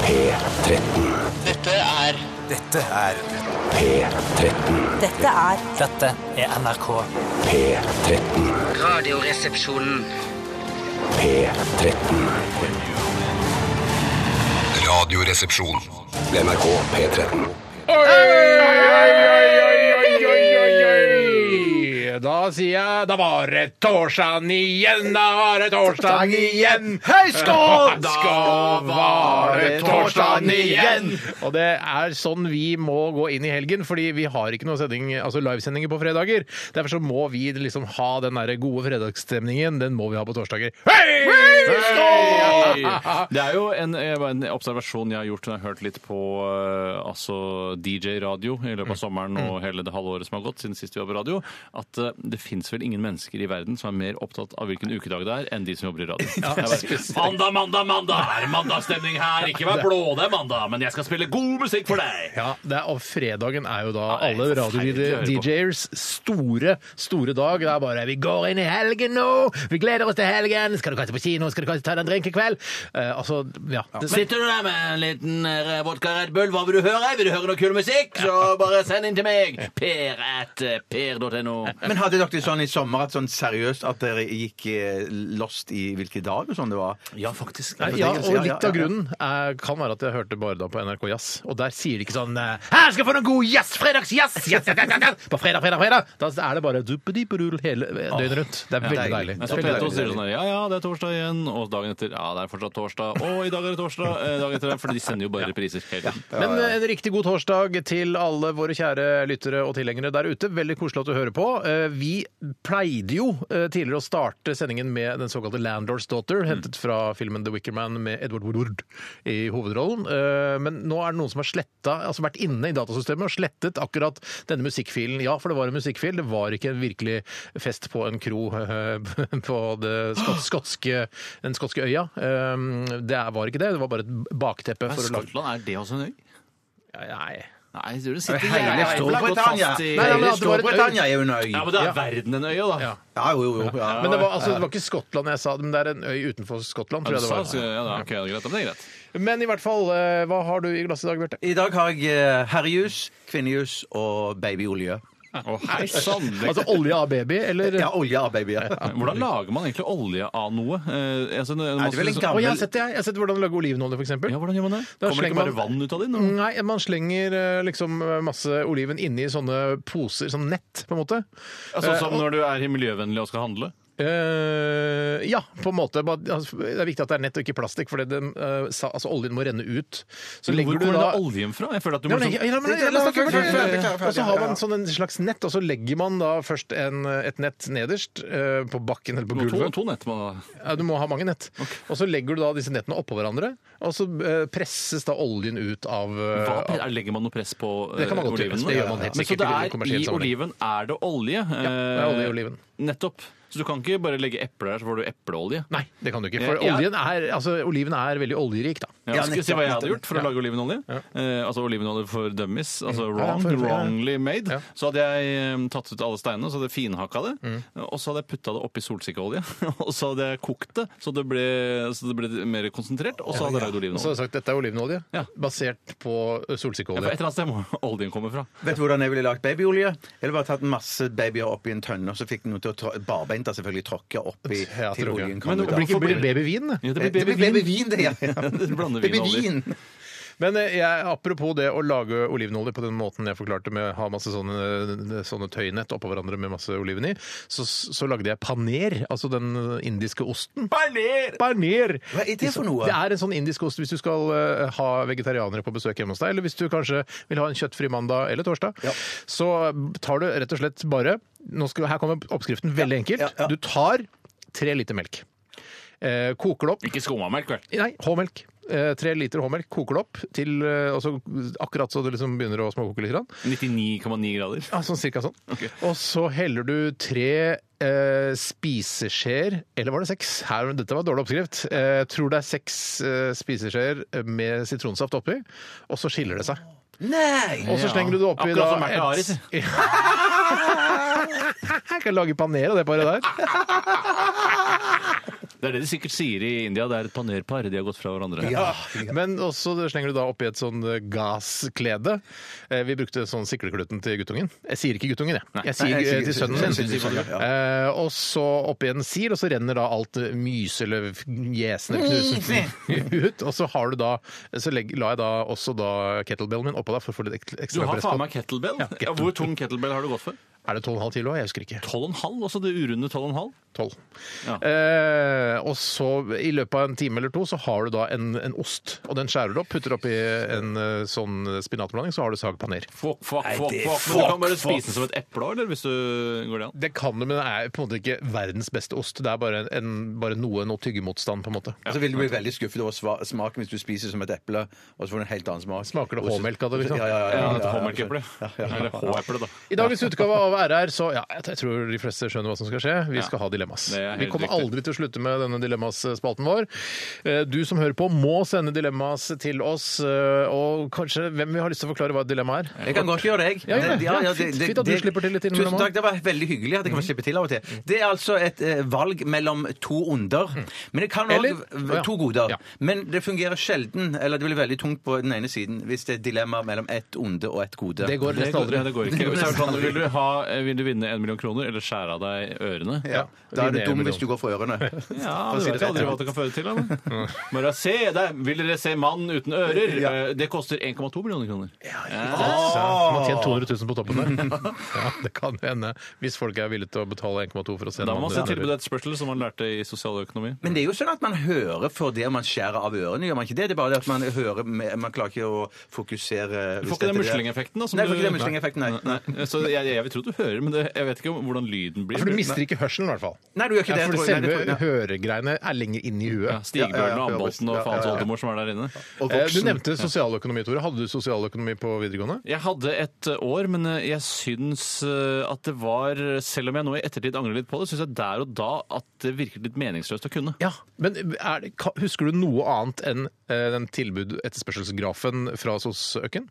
P13. Dette er Dette er P13. Dette er Dette er NRK. P13. Radioresepsjonen. P13. Radioresepsjon. NRK P13. Da sier jeg Da var det torsdag igjen, da var det torsdag igjen. Hei, skål! Da var det torsdag igjen! Og det er sånn vi må gå inn i helgen, fordi vi har ikke noe sending, altså livesendinger på fredager. Derfor så må vi liksom ha den der gode fredagsstemningen. Den må vi ha på torsdager. Hei! Det er jo en, eh, en observasjon jeg har gjort når jeg har hørt litt på eh, altså DJ-radio i Mm. løpet av sommeren og hele det halve året som har gått siden sist vi var på radio, at eh, det fins vel ingen mennesker i verden som er mer opptatt av hvilken ukedag det er, enn de som jobber i radio. Jeg bare, mandag, mandag, mandag! Er det mandagsstemning her? Ikke vær blå, det er mandag, men jeg skal spille god musikk for deg! Ja, det er, og fredagen er jo da Nei, alle forferdelig å høre på. radio-DJers store, store dag. Det er bare 'vi går inn i helgen nå', 'vi gleder oss til helgen', 'skal du kanskje på kino', 'skal du kanskje ta deg en drink i kveld'? Eh, altså, ja. Det Sitter du der med en liten eh, vodka Red Bull? Hva vil du høre? Vil du høre noe kul musikk? Så bare send inn til meg. Per at eh, per.no. Men hadde dere det sånn i sommer at sånn seriøst at dere gikk eh, lost i hvilken dag og sånn det var? Ja, faktisk. Nei, Nei, ja, det og er- ja, litt av ja, ja. grunnen er, kan være at jeg hørte bare da på NRK Jazz, og der sier de ikke sånn eh, 'Her skal jeg få noen god jazz! Fredagsjazz!' Yes, yes, yes, yes. På fredag, fredag, fredag! Da er det bare duppedipperul hele døgnet rundt. Det er veldig deilig. Men så P2 sier sånn her, ja, ja, det er torsdag igjen, og dagen etter, ja, det er fortsatt torsdag, og i dag er det torsdag, eh, dagen etter, for de sender jo bare repriser hele tiden. Men eh, en riktig god torsdag til alle våre kjære lyttere og tilhengere der ute. Veldig koselig at du hører på. Eh, Vi pleide jo eh, tidligere å starte sendingen med den såkalte Landlord's Daughter, hentet fra filmen The Wicker Man med Edward Woodward i hovedrollen. Eh, Men nå er det noen som har sletta, altså vært inne i datasystemet og slettet akkurat denne musikkfilen. Ja, for det var en musikkfil, det var ikke en virkelig fest på en kro eh, på det skot- skotske, den skotske øya. Eh, Det var ikke det, det var bare et bakteppe for å lage Skottland, er det også en øy? Nei. Nei, du det sitter Hele jævlig godt Storbritannia fast i Nei, nei, men at det var Hele et øy. Storbritannia er jo en øy. Ja, men det er verden en øy, da. Ja. Ja, jo, jo, jo. Ja. Men det var, altså, det var ikke Skottland jeg sa, men det er en øy utenfor Skottland. Ja, du Tror jeg det sa, så, var. ja, da, ok, det er greit, da, men det er greit. Men i hvert fall, eh, hva har du i glasset i dag, Bjarte? I dag har jeg eh, herrejus, kvinnejus og babyolje. Å, hei, sann! det- Altså olje av baby, eller? Ja, olje av baby. Ja. Hvordan lager man egentlig olje av noe? Eh, altså, når man det er vel en skal- gammel- Å, jeg har sett det, jeg. jeg har sett hvordan lage olivenolje, for eksempel. Ja, hvordan gjør man det? Da Kommer det slenger ikke bare man- vann ut av det? nå? Nei, man slenger eh, liksom masse oliven inni sånne poser, sånn nett, på en måte. Ja, Sånn som når du er i miljøvennlig og skal handle? Eh, ja, på en måte. Bare- altså, Det er viktig at det er nett og ikke plastikk, for den, eh, sa- altså, oljen må renne ut. Så Hvor legger kommer du da da oljen fra? Jeg føler at du Ja, må men, liksom- ja, ja, men, ja, la oss snakke ferdig, ferdig, ferdig. Og så har man sånn en slags nett, og så legger man da først en, et nett nederst eh, på bakken eller på to, gulvet. to nett man har. Ja, du må ha mange nett. Og så legger du da disse nettene oppå hverandre, og så eh, presses da oljen ut av eh, Hva, av- pre- legger man noe press på eh, Det kan man godt gjøre. oliven? Det gjør man helt Men sikkert så i det er kommersiell i sammenheng. oliven er det olje? Ja, det er olje i oliven. Nettopp. Så du kan ikke bare legge eple der, så får du epleolje? Nei, det kan du ikke. For Ja. oljen er, altså, oliven er veldig oljerik, da. Ja, Ja, skal vi si hva jeg hadde nettopp, gjort for å lage olivenolje? Eh, altså olivenolje for dummies, altså wrong, for- for- wrongly made. Ja. Så hadde jeg eh, tatt ut alle steinene, så hadde jeg finhakka det. Mm. Og så hadde jeg putta det oppi solsikkeolje. Og så hadde jeg kokt det, så det ble, så det ble mer konsentrert. Og så hadde jeg lagd Og olivenolje. så har jeg sagt dette er olivenolje, Ja. basert på Ja, for solsikkeolje. et eller annet sted må oljen komme fra. Vet du hvordan jeg ville lagd babyolje? Jeg ville bare tatt masse babyer opp i en tønne, og så fikk den noe til å trå- barbeint da selvfølgelig tråkke opp i Ja, til tror jeg. oljen kom Men ut. Det av. blir ikke- blir det babyvin? Eh, det? Ja, det Det blir blir babyvin. babyvin, det, ja. Du blander Det blir vinolje. vin. Men eh, jeg, apropos det å lage olivenolje på den måten jeg forklarte med å ha masse sånne, sånne tøynett oppå hverandre med masse oliven i, så, så lagde jeg paner, altså den indiske osten. Paner! Paner! Hva er det for noe? Det er en sånn indisk ost hvis du skal eh, ha vegetarianere på besøk hjemme hos deg, eller hvis du kanskje vil ha en kjøttfri mandag eller torsdag. Så tar du rett og slett bare nå skal, Her kommer oppskriften veldig enkelt. ja, ja. Du tar tre liter melk. Eh, koker det opp Ikke skummamelk, vel? Nei, H-melk. Eh, Tre liter H-melk, koker det opp til eh, altså, akkurat så det liksom begynner å småkoke litt. Grann. 99,9 grader. Ja, sånn cirka sånn. Og så heller du tre eh, spiseskjeer, eller var det seks? Her, dette var dårlig oppskrift. Eh, tror det er seks eh, spiseskjeer med sitronsaft oppi, og så skiller det seg. Nei! Og så slenger du det oppi Akkurat som da Märtha Aris. Jeg kan lage paner av det paret der. Det er det de sikkert sier i India. Det er et panerpar. De har gått fra hverandre. Ja. Men også slenger du da oppi et sånn eh, gassklede. Eh, Vi brukte sånn siklekluten til guttungen. Jeg sier ikke guttungen, jeg. Jeg sier Nei, jeg eh, sier- til sønnen sønnen min. sin, sier man, ja. Eh, Og så oppi en sil, og så renner da alt eh, myse eller f- gjesen eller knusen ut. Og så har du da Så legg, la jeg da også da kettlebellen min oppå der for å få litt ek- Du ekstra har press faen på. meg kettlebell. Ja, Ja, Hvor tung kettlebell har du gått for? Er det 12,5 kilo? Jeg husker ikke. 12,5? Altså det urunde 12,5? 12. Ja. Eh, og så i løpet av en time eller to så har du da en, en ost, og den skjærer du opp, putter oppi en eh, sånn spinatblanding, så har du sag paner. Fuck, fuck, Nei, fuck, det er fuck. Men du fuck, kan bare fuck. spise den som et eple, eller? Hvis du går det an. Det kan du, men det er på en måte ikke verdens beste ost. Det er bare, en, bare noe, noe tyggemotstand, på en måte. Og så vil du bli veldig skuffet over sva- smaken hvis du spiser som et eple, og så får du en helt annen smak. Smaker det Og så- H-melk av det, liksom? Ja, ja, ja. Ja, ja, et ja, ja, H-merkeeple. Eller H-eple, da. I dagens utgave av RR så ja, jeg t- jeg tror de fleste skjønner hva som skal skje. Vi skal ha dilemmas. det er helt Vi kommer riktig. aldri til å slutte med denne dilemmas-spalten vår. Eh, Du som hører på, må sende dilemmas til oss. eh, Og kanskje hvem vi har lyst til å forklare hva et dilemma er. Jeg kan godt gjøre det, jeg. Ja, gjør det. Det- Ja, fint- fint at du slipper til litt Mm. innimellom Tusen takk, det var veldig hyggelig at jeg kan slippe til av og til. Det er altså et eh, valg mellom to onder, men det kan Mm. Eller- også ja. to goder. Ja. Men det fungerer sjelden, eller det blir veldig tungt på den ene siden, hvis det er et dilemma mellom et onde og et gode. Det går Det nesten går, aldri. det går ikke. Hvis det er sånn, vil, du ha, vil du vinne en million kroner, eller skjære av deg ørene? Ja. Da er Vinner du en dum million. hvis du går for ørene. Ja, For å du si vet det jo aldri rett, ja. hva det kan føre til. Da. men. Bare se der! Vil dere se mannen uten ører? Eh, Det koster 1,2 millioner kroner. Så Man har tjent 200 000 på toppen der. Ja, det kan hende. Hvis folk er villige til å betale 1,2 for å se Da må man den se andre. tilbudet etterspørsel, som man lærte i sosialøkonomi. Men det er jo sånn at man hører for det man skjærer av ørene, gjør man ikke det? Det er bare det at man hører med, Man klarer ikke å fokusere Du får ikke den muslingeffekten, da? som Nei, du får du- ikke den muslingeffekten, nei. nei. Nei, Så jeg, jeg vil tro du hører, men det, jeg vet ikke om, hvordan lyden blir. For du mister ikke hørselen, i hvert fall. Nei, du gjør Ja, ikke det. for tror jeg. Nei, selve det tror jeg- høregreiene er lenger inn i huet. ja, Stigbjørn Ja, ja, og ja, Ambolten og ja, ja, faens ja. oldemor som er der inne. Og Eh, Du voksen. nevnte sosialøkonomi, Tore. Hadde du sosialøkonomi på videregående? Jeg hadde et eh, år, men eh, jeg syns eh, at det var Selv om jeg nå i ettertid angrer litt på det, syns jeg der og da at det virket litt meningsløst å kunne. Ja, men er det, ka- Husker du noe annet enn eh, den tilbud-etterspørselsgrafen fra SOS-øken?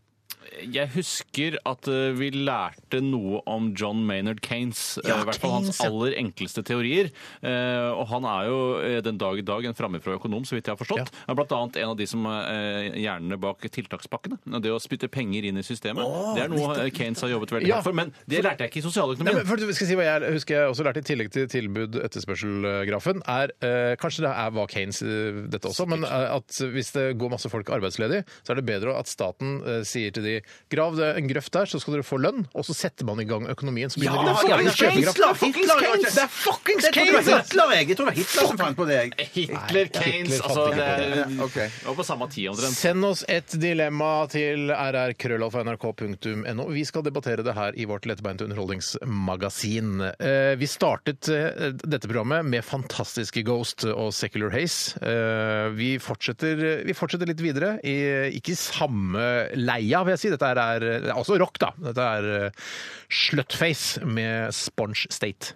Jeg husker at eh, vi lærte noe om John Maynard Keynes. eh, Ja, I hvert fall hans Keynes, ja. aller enkleste teorier. Eh, og han er jo eh, den dag i dag en framifrå økonom, så vidt jeg har forstått. Han er blant annet en av de som er eh, hjernene bak tiltakspakkene. Og Det å spytte penger inn i systemet. det er noe eh, Keynes har jobbet veldig Ja. hardt for. Men det lærte jeg ikke i Nei, sosialøkonomien. men for, skal jeg si hva jeg husker jeg også lærte i tillegg til tilbud-etterspørsel-grafen, er eh, Kanskje det er hva Keynes eh, dette også, men eh, at hvis det går masse folk arbeidsledig, så er det bedre at staten eh, sier til de grav det en grøft der, så skal dere få lønn, og så setter man i gang økonomien. Så begynner de å ja, lage det er kjøpekraft. Hitler, fuckings Keynes! Det er fuckings Jeg tror det var Keynes! ja! Hitler, jeg. Jeg tror det var Hitler som fant på det. jeg. Hitler, Keynes fant altså, ikke det, på er, det. Ja, ok. det var på samme tid omtrent. Send oss et dilemma til rrkrøllalfa.nrk.no. Vi skal debattere det her i vårt lettbeinte underholdningsmagasin. Eh, Vi startet eh, dette programmet med fantastiske Ghost og Secular Haze. Eh, Vi fortsetter, vi fortsetter litt videre, i, ikke i samme leia, vil jeg si. Dette er, det er også rock, da. Dette er eh, Slutface med Sponge State.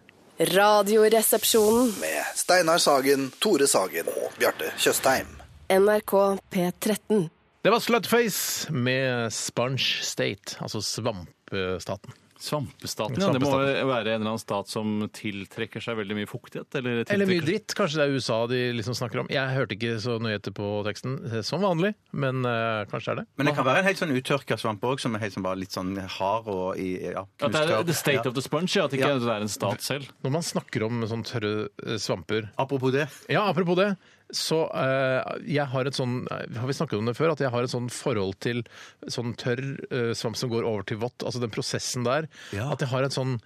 Radioresepsjonen. med Steinar Sagen, Tore Sagen og Bjarte Tjøstheim. NRK P13. Det var Slutface med Sponge State, altså svampestaten. Svampestaten, ja. Det må være en eller annen stat som tiltrekker seg veldig mye fuktighet? Eller, Eller mye tiltrekker- dritt. Kanskje det er USA de liksom snakker om. Jeg hørte ikke så nøyheter på teksten, eh, som vanlig, men eh, kanskje er det. Men det kan være en helt sånn uttørka svamp òg, som er helt sånn bare litt sånn hard og i, ja, At det er the knust tørr. state Ja. of the sponge, ja, at ikke det er en stat selv. Når man snakker om sånn tørre eh, svamper Apropos det. Ja, apropos det. Så eh, jeg har et sånn Har vi snakket om det før? At jeg har et sånn forhold til sånn tørr eh, svamp som går over til vått. Altså den prosessen der. Ja. At jeg har et sånn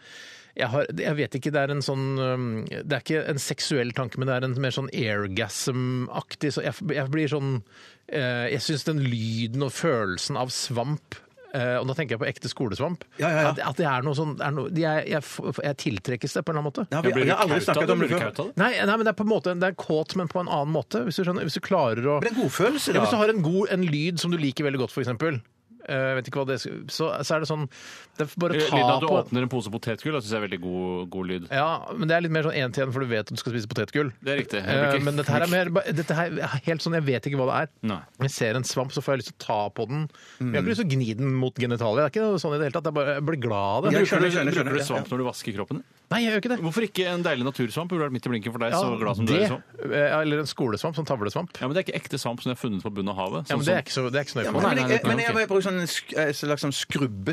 jeg, har, jeg vet ikke, det er en sånn um, Det er ikke en seksuell tanke, men det er en mer sånn airgasm-aktig så jeg, jeg blir sånn eh, Jeg syns den lyden og følelsen av svamp eh, og da tenker jeg på ekte skolesvamp. Ja, ja, ja. At, at det er noe sånn det er noe, jeg, jeg, f- jeg tiltrekkes det på en eller annen måte. Det har vi, Blir vi du har aldri kaut av snakket det? om det Blir du før. kaut av det? Nei, nei, men det er på en måte det er kåt, men på en annen måte. Hvis du skjønner, hvis du klarer å Men det er en godfølelse, ja, Hvis du da. har en, god, en lyd som du liker veldig godt, for eksempel. Eh, vet ikke hva det skal- så, så er det sånn Det er bare å Eh, Lyden ta av at du på åpner en pose potetgull, syns jeg er veldig god, god lyd. Ja, men det er litt mer sånn én til én, for du vet at du skal spise potetgull. Det er riktig. Jeg Eh, liker- Men dette her er mer ba- dette her er helt sånn, jeg vet ikke hva det er. Nei. Når jeg ser en svamp, så får jeg lyst til å ta på den. Mm. Jeg har ikke lyst til å gni den mot genitalia. Det er ikke noe sånn i det hele tatt. Jeg bare jeg blir glad av det. Ja, Bruker skjønner, du- skjønner, skjønner. Bruker du svamp når du vasker kroppen? Nei, jeg gjør ikke det. Hvorfor ikke en deilig natursvamp? Burde vært midt i blinken for deg, så glad som du er i det, svamp. eh, eller en skolesvamp, sånn tavlesvamp. Ja, men det er ikke ekte svamp som de har funnet på bunnen av havet. Ja, sånn men det er ikke så, det er ikke så nøye Ja, for men, meg. men, jeg, men nei, jeg ok. vil bruke sånn sk- eh, slags sånn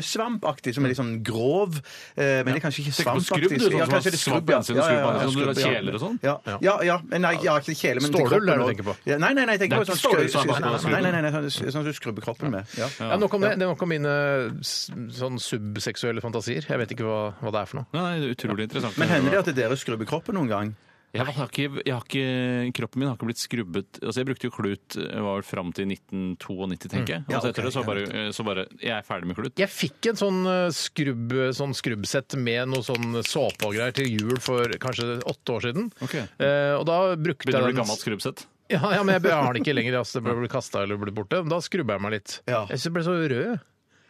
skrubbesvampaktig, som er litt sånn grov. eh, Men det er kanskje ikke Tenker på skrubb, svampaktig. du, sånn Ja, som har kanskje det er svamp skrubb, på ja. den siden og Ja, ja, skrubb på den ja, andre, sånn skrubb, som du har ja. kjeler og sånn. Ja, ja, ja. Men Nei, ja, ikke kjele, men til Stålull er det kroppen du også. tenker på? Ja, Nei, nei, nei, jeg tenker Det er på sånn ikke stålull som er på skrubbe- skrubben. Nei, nei, nei, nei, sånn sånn du skrubber kroppen med. Ja. Ja, nok om det. Det var nok om mine s- sånn subseksuelle fantasier. Jeg vet ikke hva, hva det er for noe. Nei, det er utrolig interessant. Men hender det at dere skrubber kroppen noen gang? Jeg har ikke, jeg har ikke, kroppen min har ikke blitt skrubbet Altså Jeg brukte jo klut eh, var vel fram til 1992, tenker jeg. Og Mm. Ja, så etter ok, det så ja, bare, eh, så bare Jeg er ferdig med klut. Jeg fikk en sånn eh, skrubb, sånn skrubbsett med noe sånn såpe og greier til jul for kanskje åtte år siden. Ok. Eh, og da brukte Begynner å jeg bli den- gammelt skrubbsett. Ja, ja, men jeg jeg har den ikke lenger. Altså, det ble- ble kastet eller ble borte. Men da skrubba jeg meg litt. Ja. Jeg synes jeg ble så rød.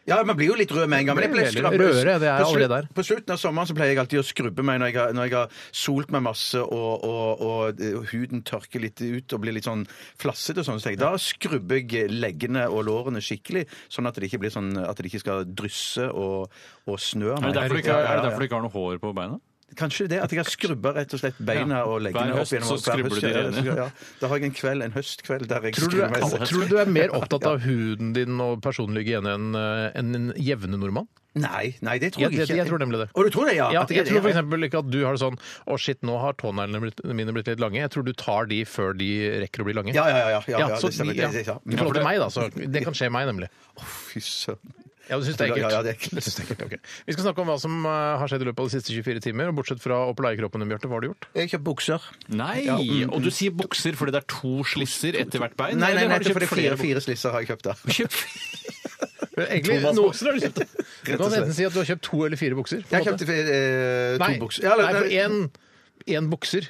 Ja, man blir jo litt rød med en gang. Men jeg Blir veldig ble skrabbet- rødere, det er på, allerede slutt, der. på slutten av sommeren så pleier jeg alltid å skrubbe meg når jeg har, når jeg har solt meg masse og, og, og, eh, huden tørker litt ut og blir litt sånn flassete og sånn. Så tenker jeg, da skrubber jeg leggene og lårene skikkelig, sånn at det ikke, blir sånn, at det ikke skal drysse og, og snø av Er det meg. derfor du ikke, Ja, er ja, det ja. derfor du ikke har noe hår på beina? Kanskje det at jeg har skrubba rett og slett beina Ja. og leggene Hver opp høst gjennom så skrubber du de ja, rene. ja. Da har jeg en kveld, en høstkveld der jeg Tror du, skrubber meg selv. tror du du er mer opptatt av huden din og personlig hygiene enn eh, enn en jevne nordmann? Nei, nei, det tror jeg, Jeg- jeg- ikke. jeg tror nemlig det. Å, du tror det, ja? Ja, At jeg tror er det, f.eks. ja. ikke at du har det sånn Å, shit, nå har tåneglene blitt- mine blitt litt lange. Jeg tror du tar de før de rekker å bli lange. Ja, ja, ja. ja, ja, ja, så, det stemmer. ja. Det- det- ja. I forhold til meg, da. Så det kan skje meg, nemlig. Fy søren. Ja, du syns det er ekkelt? Ja, ja, det er ekkelt. Du synes det er ekkelt, ok. Vi skal snakke om hva som eh, har skjedd i løpet av de siste 24 timer. Og bortsett fra å pleie kroppen din, Bjarte, hva har du gjort? Jeg kjøper bukser. Nei! Og du sier bukser fordi det er to slisser etter hvert bein? Nei, nei, eller nei, har du for det kjøpt er fire, flere bukser? fire slisser har jeg kjøpt der. Kjøpt- Eh, Egentlig, Thomas nå- bukser har du kjøpt. Du kan enten si at du har kjøpt to eller fire bukser. på en Jeg måte. kjøpte eh, to Nei, bukser. Ja, eller- nei, for én én bukser.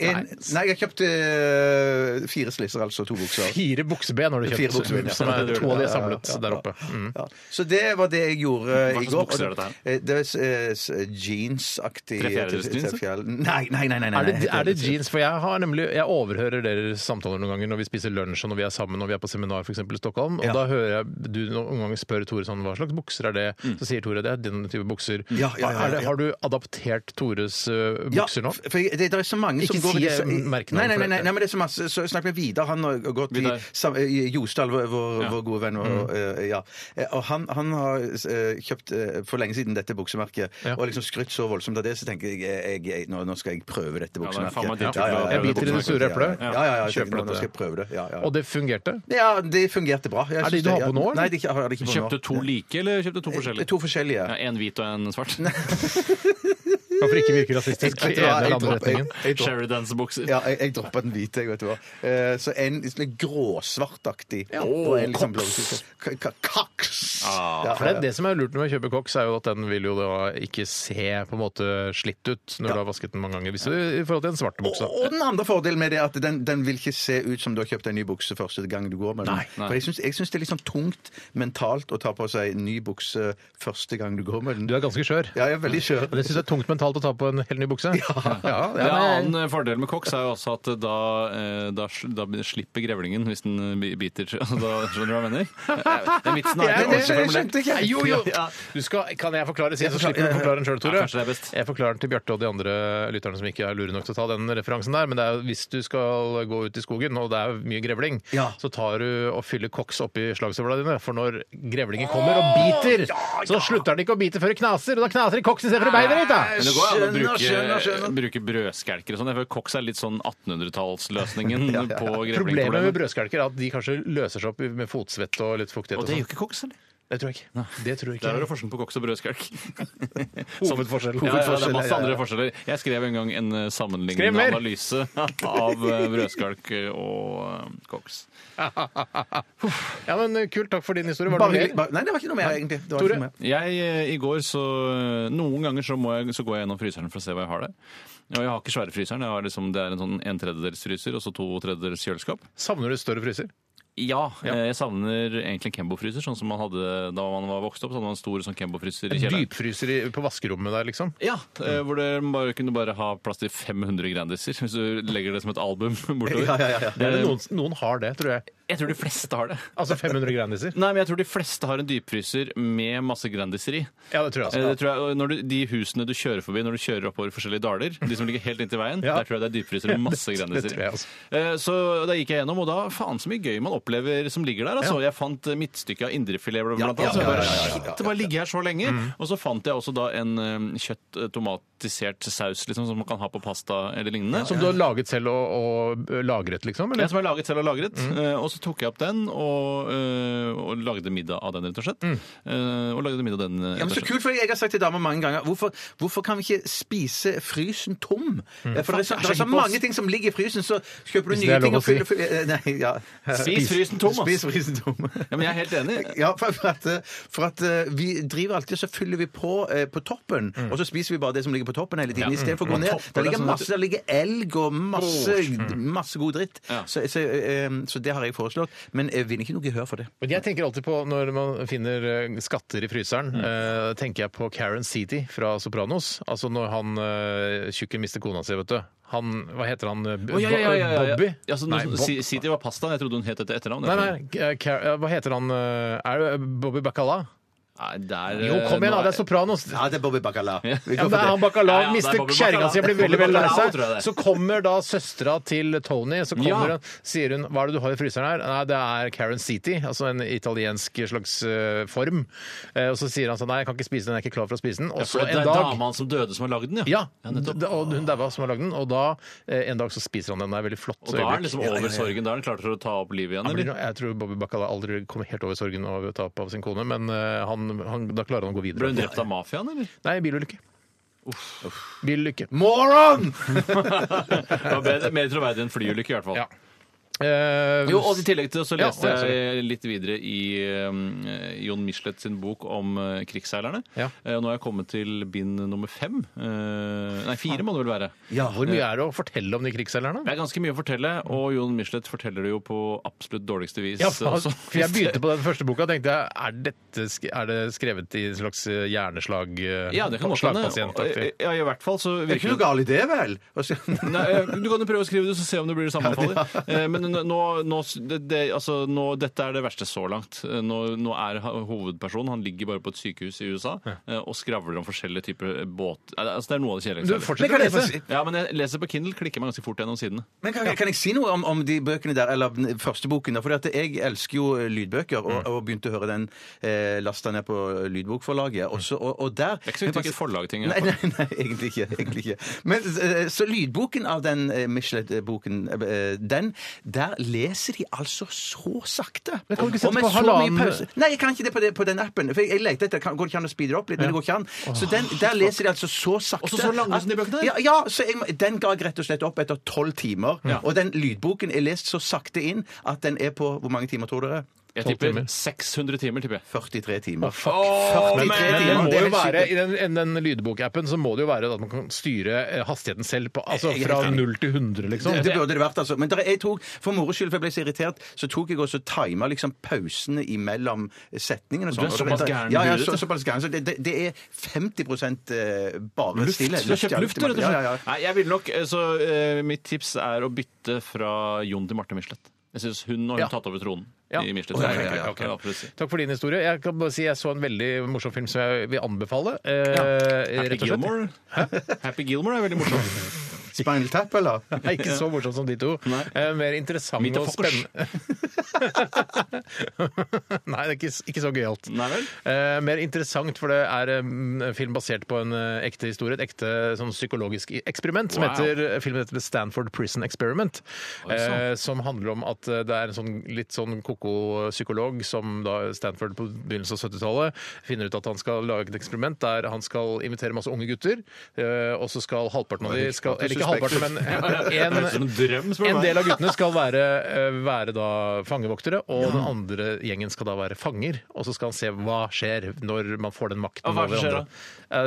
en, nei, jeg kjøpte eh, fire slisser, altså to bukser. Fire bukseben har du Fire kjøpt. bukseben, ja. Som er to av de er samlet Ja, ja, ja. der oppe. Mm. Ja. Så det var det jeg gjorde eh, Hva i slags går. bukser er dette her? Eh, Det er eh, s- jeansaktig Trefjerdedels jeans, trefjerdedels- Nei, nei, nei. nei, nei Er det, helt er det ærlig. jeans? For jeg har nemlig, jeg overhører deres samtaler noen ganger når vi spiser lunsj og når vi er sammen og vi er på seminar for eksempel i Stockholm. Og Ja. da hører jeg du noen ganger spør Tore sånn, hva slags bukser er det? Så sier Tore det er den type bukser. Mm. Ja, ja, ja, ja, Er det, ja. har du adoptert Tores ø, bukser nå? f- For jeg, det, det er så mange Ikke som går si, i disse- eh, merkenavn Nei, nei, for nei, nei, dette. nei, men det er så masse så jeg Snakk med Vidar, han har gått i, Vidar. sam, i Jostal, vår, vår, vår gode venn. Mm. Og, eh, ja. Eh, og han, han har eh, kjøpt eh, for lenge siden dette buksemerket, Ja. og liksom skrytt så voldsomt av det, så tenker jeg, eh, jeg, jeg nå, nå skal jeg prøve dette det er buksemerket. faen meg din type å prøve Jeg biter i det buksemerket. sure eplet. Ja, ja, ja, jeg Kjøper tenker, nå, dette. nå skal jeg prøve det. Ja, ja. Og det fungerte? ja, det fungerte bra. Jeg Er det de syns du har på nå, eller? Nei, det har jeg ikke på nå. Kjøpte to like, eller kjøpte to forskjellige? Eh, To forskjellige. Ja, En hvit og en svart. Hvorfor ikke virke rasistisk i Jeg- jeg- den eller jeg- andre retningen? jeg- jeg- Sheridans-bukser. Ja, jeg, jeg droppa den hvite, jeg, vet du hva. Eh, så en litt gråsvartaktig. Ja. sånn koks. Kaks! Ah, Ja, For det, er ja, ja. det som er lurt med å kjøpe koks, er jo at den vil jo da ikke se på en måte slitt ut når du har vasket den mange ganger, hvis du, i forhold til en svart bukse. Og den andre fordelen med det er at den, den vil ikke se ut som du har kjøpt en ny bukse første gang du går med den. Nei, nei. For jeg syns, jeg syns det er litt sånn tungt mentalt å ta på seg ny bukse første gang du går med den. Du er ganske skjør. Ja, jeg er veldig skjør. Og Det syns jeg er tungt mentalt å ta på en helt ny bukse. Ja, ja, Ja, men- En annen eh, fordel med koks er jo også at da, eh, da, sl- da slipper grevlingen hvis den eh, bi- biter. Altså, Da skjønner du hva jeg mener? Eh, Den vitsen er Ja, ikke det- ordentlig det formulert. skjønte ikke jeg. Eh, Jo, jo! Du skal, kan jeg forklare siden, så slipper du å forklare den sjøl, Tore? Ja, kanskje det er best. Jeg forklarer den til Bjarte og de andre lytterne som ikke er lure nok til å ta den referansen der. Men det er, jo hvis du skal gå ut i skogen, og det er mye grevling, Ja. så tar du og fyller koks oppi slagstøvla dine. For når grevlingen kommer og biter, så slutter den ikke å bite før det knaser. Og da knaser det i koksen istedenfor i beinet Men ditt, da! det går an å Skjønner, bruke, skjønner, skjønner. bruke brødskjelker og sånn. Jeg føler Koks er litt sånn 1800-tallsløsningen på Problemet med grevlingproblemet. brødskalker er at de kanskje løser seg opp med fotsvett og litt fuktighet. Og Og det er sånn. jo ikke koks, eller? det tror jeg ikke. Det tror jeg Der er det ikke. forskjellen på koks og brødskalk. Hovedforskjell. Ja, ja, det er masse Hovedforskjell, ja, andre ja. forskjeller. Jeg skrev en gang en eh, Skriv sammenlignende mer! analyse av eh, brødskalk og eh, koks. Ja, men eh, kult. Takk for din historie. Var Bare, det hyggelig. noe mer? bare, nei, det var ikke noe mer, egentlig. Det var Tore? ikke noe mer. Jeg, eh, i går så eh, Noen ganger så, må jeg, så går jeg gjennom fryseren for å se hva jeg har der. Og jeg har ikke svære fryseren. Jeg har liksom, det er en sånn en tredjedels fryser og så to tredjedels kjøleskap. Savner du større fryser? Ja, eh, jeg savner egentlig en Kembo-fryser, sånn som man hadde da man var vokst opp. Så hadde man en stor sånn Kembo-fryser i kjelleren. Dypfryser i, på vaskerommet der, liksom? Ja, eh, hvor det bare, kunne bare ha plass til 500 Grandiser, hvis du legger det som et album bortover. Eh, Ja, ja, ja, ja. Det er det noen, noen har det, tror jeg. Jeg tror de fleste har det. Altså 500 Grandiser? Nei, men jeg tror de fleste har en dypfryser med masse Grandiser i. Ja, det tror jeg. Eh, Altså. Det tror jeg, og når du, de husene du kjører forbi når du kjører oppover forskjellige daler, de som ligger helt inntil veien, Ja. der tror jeg det er dypfryser med masse Det- det grandiser. tror jeg også. Eh, Så da gikk jeg gjennom, og da faen så mye gøy man opplever som ligger der. Altså. Jeg fant eh, midtstykket av indrefilet blant annet. så jeg bare, Shit, det bare ligger her så lenge. Og så fant jeg også da en eh, kjøtt eh, tomatisert saus liksom, som man kan ha på pasta eller lignende. Som du har laget selv og, og lagret, liksom? Ja, Eller? som er laget selv og lagret. Eh, og så tok jeg opp den og, eh, og lagde middag av den, rett og slett. Eh, og lagde middag av den. eh, Ja, men rett og så slett. kult, for Jeg har sagt til damer mange ganger hvorfor, hvorfor kan vi ikke spise frysen tom? Eh, For det er så, Faen, det er så jeg er mange ting som ligger i frysen, så kjøper du Hvis det nye er lov ting å og fyller fyller- eh, Nei, ja. Spis frysen tom, ass. Spis frysen tom. Ja, men jeg er helt enig. Ja, for, for at, eh, for at eh, vi driver alltid og så fyller vi på eh, på toppen, og så spiser vi bare det som ligger på toppen hele tiden. Istedenfor å gå ned. Der ligger masse, der ligger elg og masse, masse god dritt. Så, så, eh, så det har jeg foreslått. Men jeg vinner ikke noe gehør for det. Men jeg tenker alltid på, når man finner eh, skatter i fryseren, eh, tenker jeg på Karen Seaty fra Sopranos. Altså når han eh, tjukke mister kona si, vet du. Han, hva heter han? eh, Å, ja, ja, ja, ja, ja. Bobby? Ja, så nå- Nei, Bob. Si- City var pasta. Jeg trodde hun het etter etternavn. Nei, nei, eh, Car- eh, hva heter han? eh, Er det Bobby Bacala? Nei, der, Jo, kom igjen, da, det er Sopranos. Ja, det er Bobby Bacala. Vi går Ja, men for det. han Bacala Ja, ja, det er mister Bobby kjerringa Bacala. si og blir veldig veldig lei Bobby Bacala, seg. tror jeg det. Så kommer da søstera til Tony, så kommer Ja. hun, sier hun 'Hva er det du har i fryseren her?' Nei, det er Karen City, altså en italiensk slags eh, form. Eh, og så sier han sånn 'Nei, jeg kan ikke spise den, jeg er ikke klar for å spise den'. Og så For det en er dag dama som døde, som har lagd den, ja. ja, d- og hun daua som har lagd den, og da eh, en dag så spiser han den. Det er et veldig Og flott. da er han øyeblikk. liksom over sorgen. Da er han klar til å ta opp livet igjen, Han blir, eller? jeg tror Bobby Bacala aldri kommer helt over sorgen av å tape av sin kone, men eh, han, han, da klarer han å gå videre. Ble hun drept av mafiaen, eller? Nei, bilulykke. Bilulykke. Moron! Det var bedre- Mer troverdig enn flyulykke, i hvert fall. Ja. Eh, Jo, og I tillegg til det så Ja, leste og jeg så jeg litt videre i eh, Jon Michelet sin bok om eh, krigsseilerne. Ja. Eh, nå har jeg kommet til bind nummer fem. Eh, nei, fire må det vel være. Ja, hvor mye er det å fortelle om de krigsseilerne? Det er ganske mye å fortelle, og Jon Michelet forteller det jo på absolutt dårligste vis. eh, Ja, for også. for jeg begynte på den første boka og tenkte jeg, er, dette, sk- er det skrevet i en slags eh, hjerneslag eh, Ja, det kan godt hende. slagpasientaktig? Ja, i hvert fall så Det er ikke virker noe galt i det, vel? Og så- Nei, eh, du kan jo prøve å skrive det, så se om det blir det sammenfaller. Eh, Men nå, nå, det, det, altså, nå, dette er det verste så langt. Eh, Nå, nå er ha- hovedpersonen Han ligger bare på et sykehus i USA eh, og skravler om forskjellige typer båt... Eh, Altså, det er noe av det kjedeligste. jeg har Du lest. fortsetter å Men kan jeg lese. få si- Ja, men jeg leser på Kindle, klikker meg ganske fort gjennom sidene. Men kan, kan jeg si noe om, om de bøkene der, eller den første boken? For jeg elsker jo eh, lydbøker, Mm. og, og begynte å høre den eh, lasta ned på lydbokforlaget. Og, så, og, og der Det er ikke så viktig hvilket forlag ting er. Nei, nei, nei, egentlig ikke. Egentlig ikke. Men, eh, så lydboken av den eh, Michelet-boken, eh, den, der leser de altså så sakte. Men kan du ikke sette Og med på så mye halvannen- pause. Nei, jeg kan ikke det på, det, på den appen. For jeg, jeg lekte etter, kan- går det ikke an å speede det opp litt? Men det går ikke an. Så den, der leser de altså så sakte. Også så lange at- som de bøkene er. Ja, ja, så jeg, må- den ga jeg rett og slett opp etter tolv timer. Og den lydboken er lest så sakte inn at den er på Hvor mange timer tror dere? Jeg Tolv tipper timer. 600 timer, tipper jeg. 43 timer. Men, men det timer, må det er jo helt være, I den, i den lydbokappen så må det jo være at man kan styre eh, hastigheten selv, på, altså fra 0 til 100, liksom. Det burde det vært, altså. Men der, jeg tok, for moro skyld, for jeg ble så irritert, så tok jeg også tima liksom pausene imellom setningene. og Du er sånn. såpass gæren Ja, i ja, huet, du. så, såpass gæren. Så det, det, det er 50 eh, bare stillhet. Du har kjøpt luft, du, rett og Ja, slett. ja, ja. Nei, jeg vil nok, eh, så eh, mitt tips er å bytte fra Jon til Marte Michelet. Jeg synes hun nå har hun Ja. tatt over tronen Ja. i Michelet. Å, ja, ja, ja, Ja, ok. absolutt si. Takk for din historie. Jeg kan bare si jeg så en veldig morsom film som jeg vil anbefale. eh, Happy rett og slett. Gilmore. Happy Gilmore er veldig morsom. Spinal Tap, eller? Det er ikke så morsomt som de to. Eh, mer interessant Mitt og og Fokkers. spennende. Nei, det er ikke, ikke så gøyalt. Nei vel? Eh, mer interessant, for det er eh, en film basert på en eh, ekte historie, et ekte sånn psykologisk i- eksperiment, som Wow. heter eh, filmen heter The Stanford Prison Experiment. Oi, sant. eh, som handler om at eh, det er en sånn, litt sånn koko psykolog som da Stanford på begynnelsen av 70-tallet finner ut at han skal lage et eksperiment der han skal invitere masse unge gutter, eh, og så skal halvparten av de skal, Eller ikke Suspekt. halvparten, men Det høres ut som en en drøm, spør du en meg. del av guttene skal være, eh, være da fangevoktere, og den andre gjengen skal da være fanger. Og så skal han se hva skjer når man får den makten Og hva over skjer andre. Eh,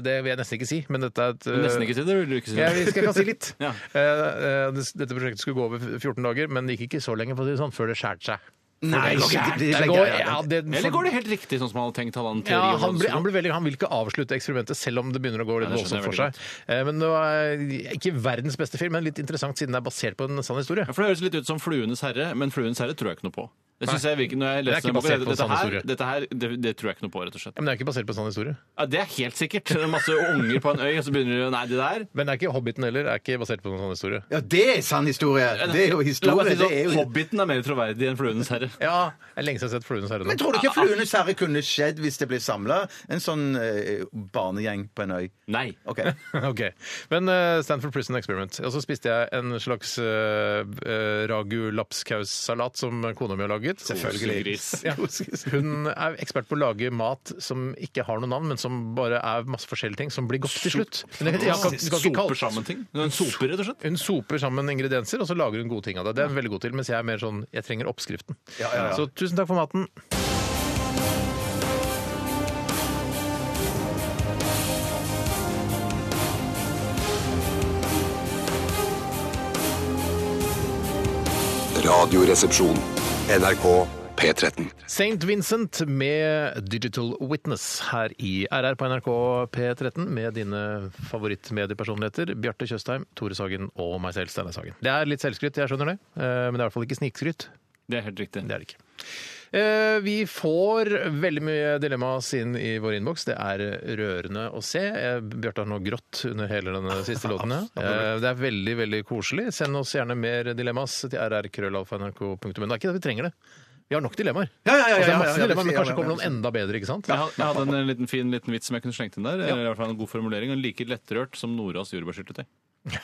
Det det vil jeg nesten ikke si, men dette er et eh, Nesten ikke si det, vil du ikke si ja, vi det? skal, kan si litt. Ja. Eh, eh, det- Dette prosjektet skulle gå over 14 dager, men det gikk ikke så lenge for å si det sånn, før det skjærte seg. Nei, Det går det- gærent. det- Det det- går- ja, ja, det- Eller går det helt riktig, sånn som han hadde tenkt? Hadde han teori Ja, om han, hvordan blir, det han blir veldig, han vil ikke avslutte eksperimentet selv om det begynner å gå litt Nei, det skjønner jeg voldsomt for veldig seg. Eh, Men det var eh, ikke verdens beste film, men litt interessant siden det er basert på en sann historie. Ja, for Det høres litt ut som 'Fluenes herre', men 'Fluenes herre' tror jeg ikke noe på. Det synes jeg virker, når jeg Det er leser ikke den boka, basert på dette, sann her, historie. dette her, det, det tror jeg ikke noe på, rett og slett. Ja, Men det er ikke basert på en sann historie. Ja, det er helt sikkert. Det er masse unger på en øy, og så begynner de å Nei, det der Men det er ikke Hobbiten heller. Det er ikke basert på en sann historie. Ja, det er sann historie! Det er jo La meg historie. si Det er sånn, jo... Hobbiten er mer troverdig enn 'Fluenes herre'. Ja, det er lenge siden jeg har sett 'Fluenes herre'. Men nå. tror du ikke Fluenes herre kunne skjedd hvis det ble samla en sånn eh, barnegjeng på en øy? Nei. OK. Ok. Men eh, Stanford Prison Experiment. Og så spiste jeg en slags eh, eh, ragu lapskaussalat som kona mi har laget. Gris. Ja. Hun er ekspert på å lage mat som ikke har noe navn, men som bare er masse forskjellige ting, som blir godt til slutt. Men jeg, jeg, kan, jeg kan ikke Soper kalle sammen ting. Hun soper, rett og slett. hun soper sammen ingredienser, og så lager hun gode ting av det. Det er hun veldig god til, mens jeg er mer sånn jeg trenger oppskriften. ja, ja. Så tusen takk for maten. Radioresepsjon. NRK P13. St. Vincent med Digital Witness her i RR på NRK P13 med dine favorittmediepersonligheter Bjarte Tjøstheim, Tore Sagen og meg selv, Steinar Sagen. Det er litt selvskryt, jeg skjønner det, eh, men det er i hvert fall ikke snikskryt. Det er helt riktig. Det er det ikke. Eh, Vi får veldig mye dilemmas inn i vår innboks. Det er rørende å se. Eh, Bjarte har nå grått under hele denne siste låten. ja. Eh, Det er veldig veldig koselig. Send oss gjerne mer dilemmas til rrkrøllalfa.nrk.no. Det er ikke det vi trenger det. Vi har nok dilemmaer. Ja, ja, ja, Altså, det ja, er ja, ja, masse ja, dilemmaer, men ja, ja, kanskje ja. kommer noen enda bedre, ikke sant? Jeg had- jeg hadde en liten fin liten vits som jeg kunne slengt inn der. Eller i hvert fall en god formulering. Og like lettrørt som Noras jordbærsyltetøy. Hvis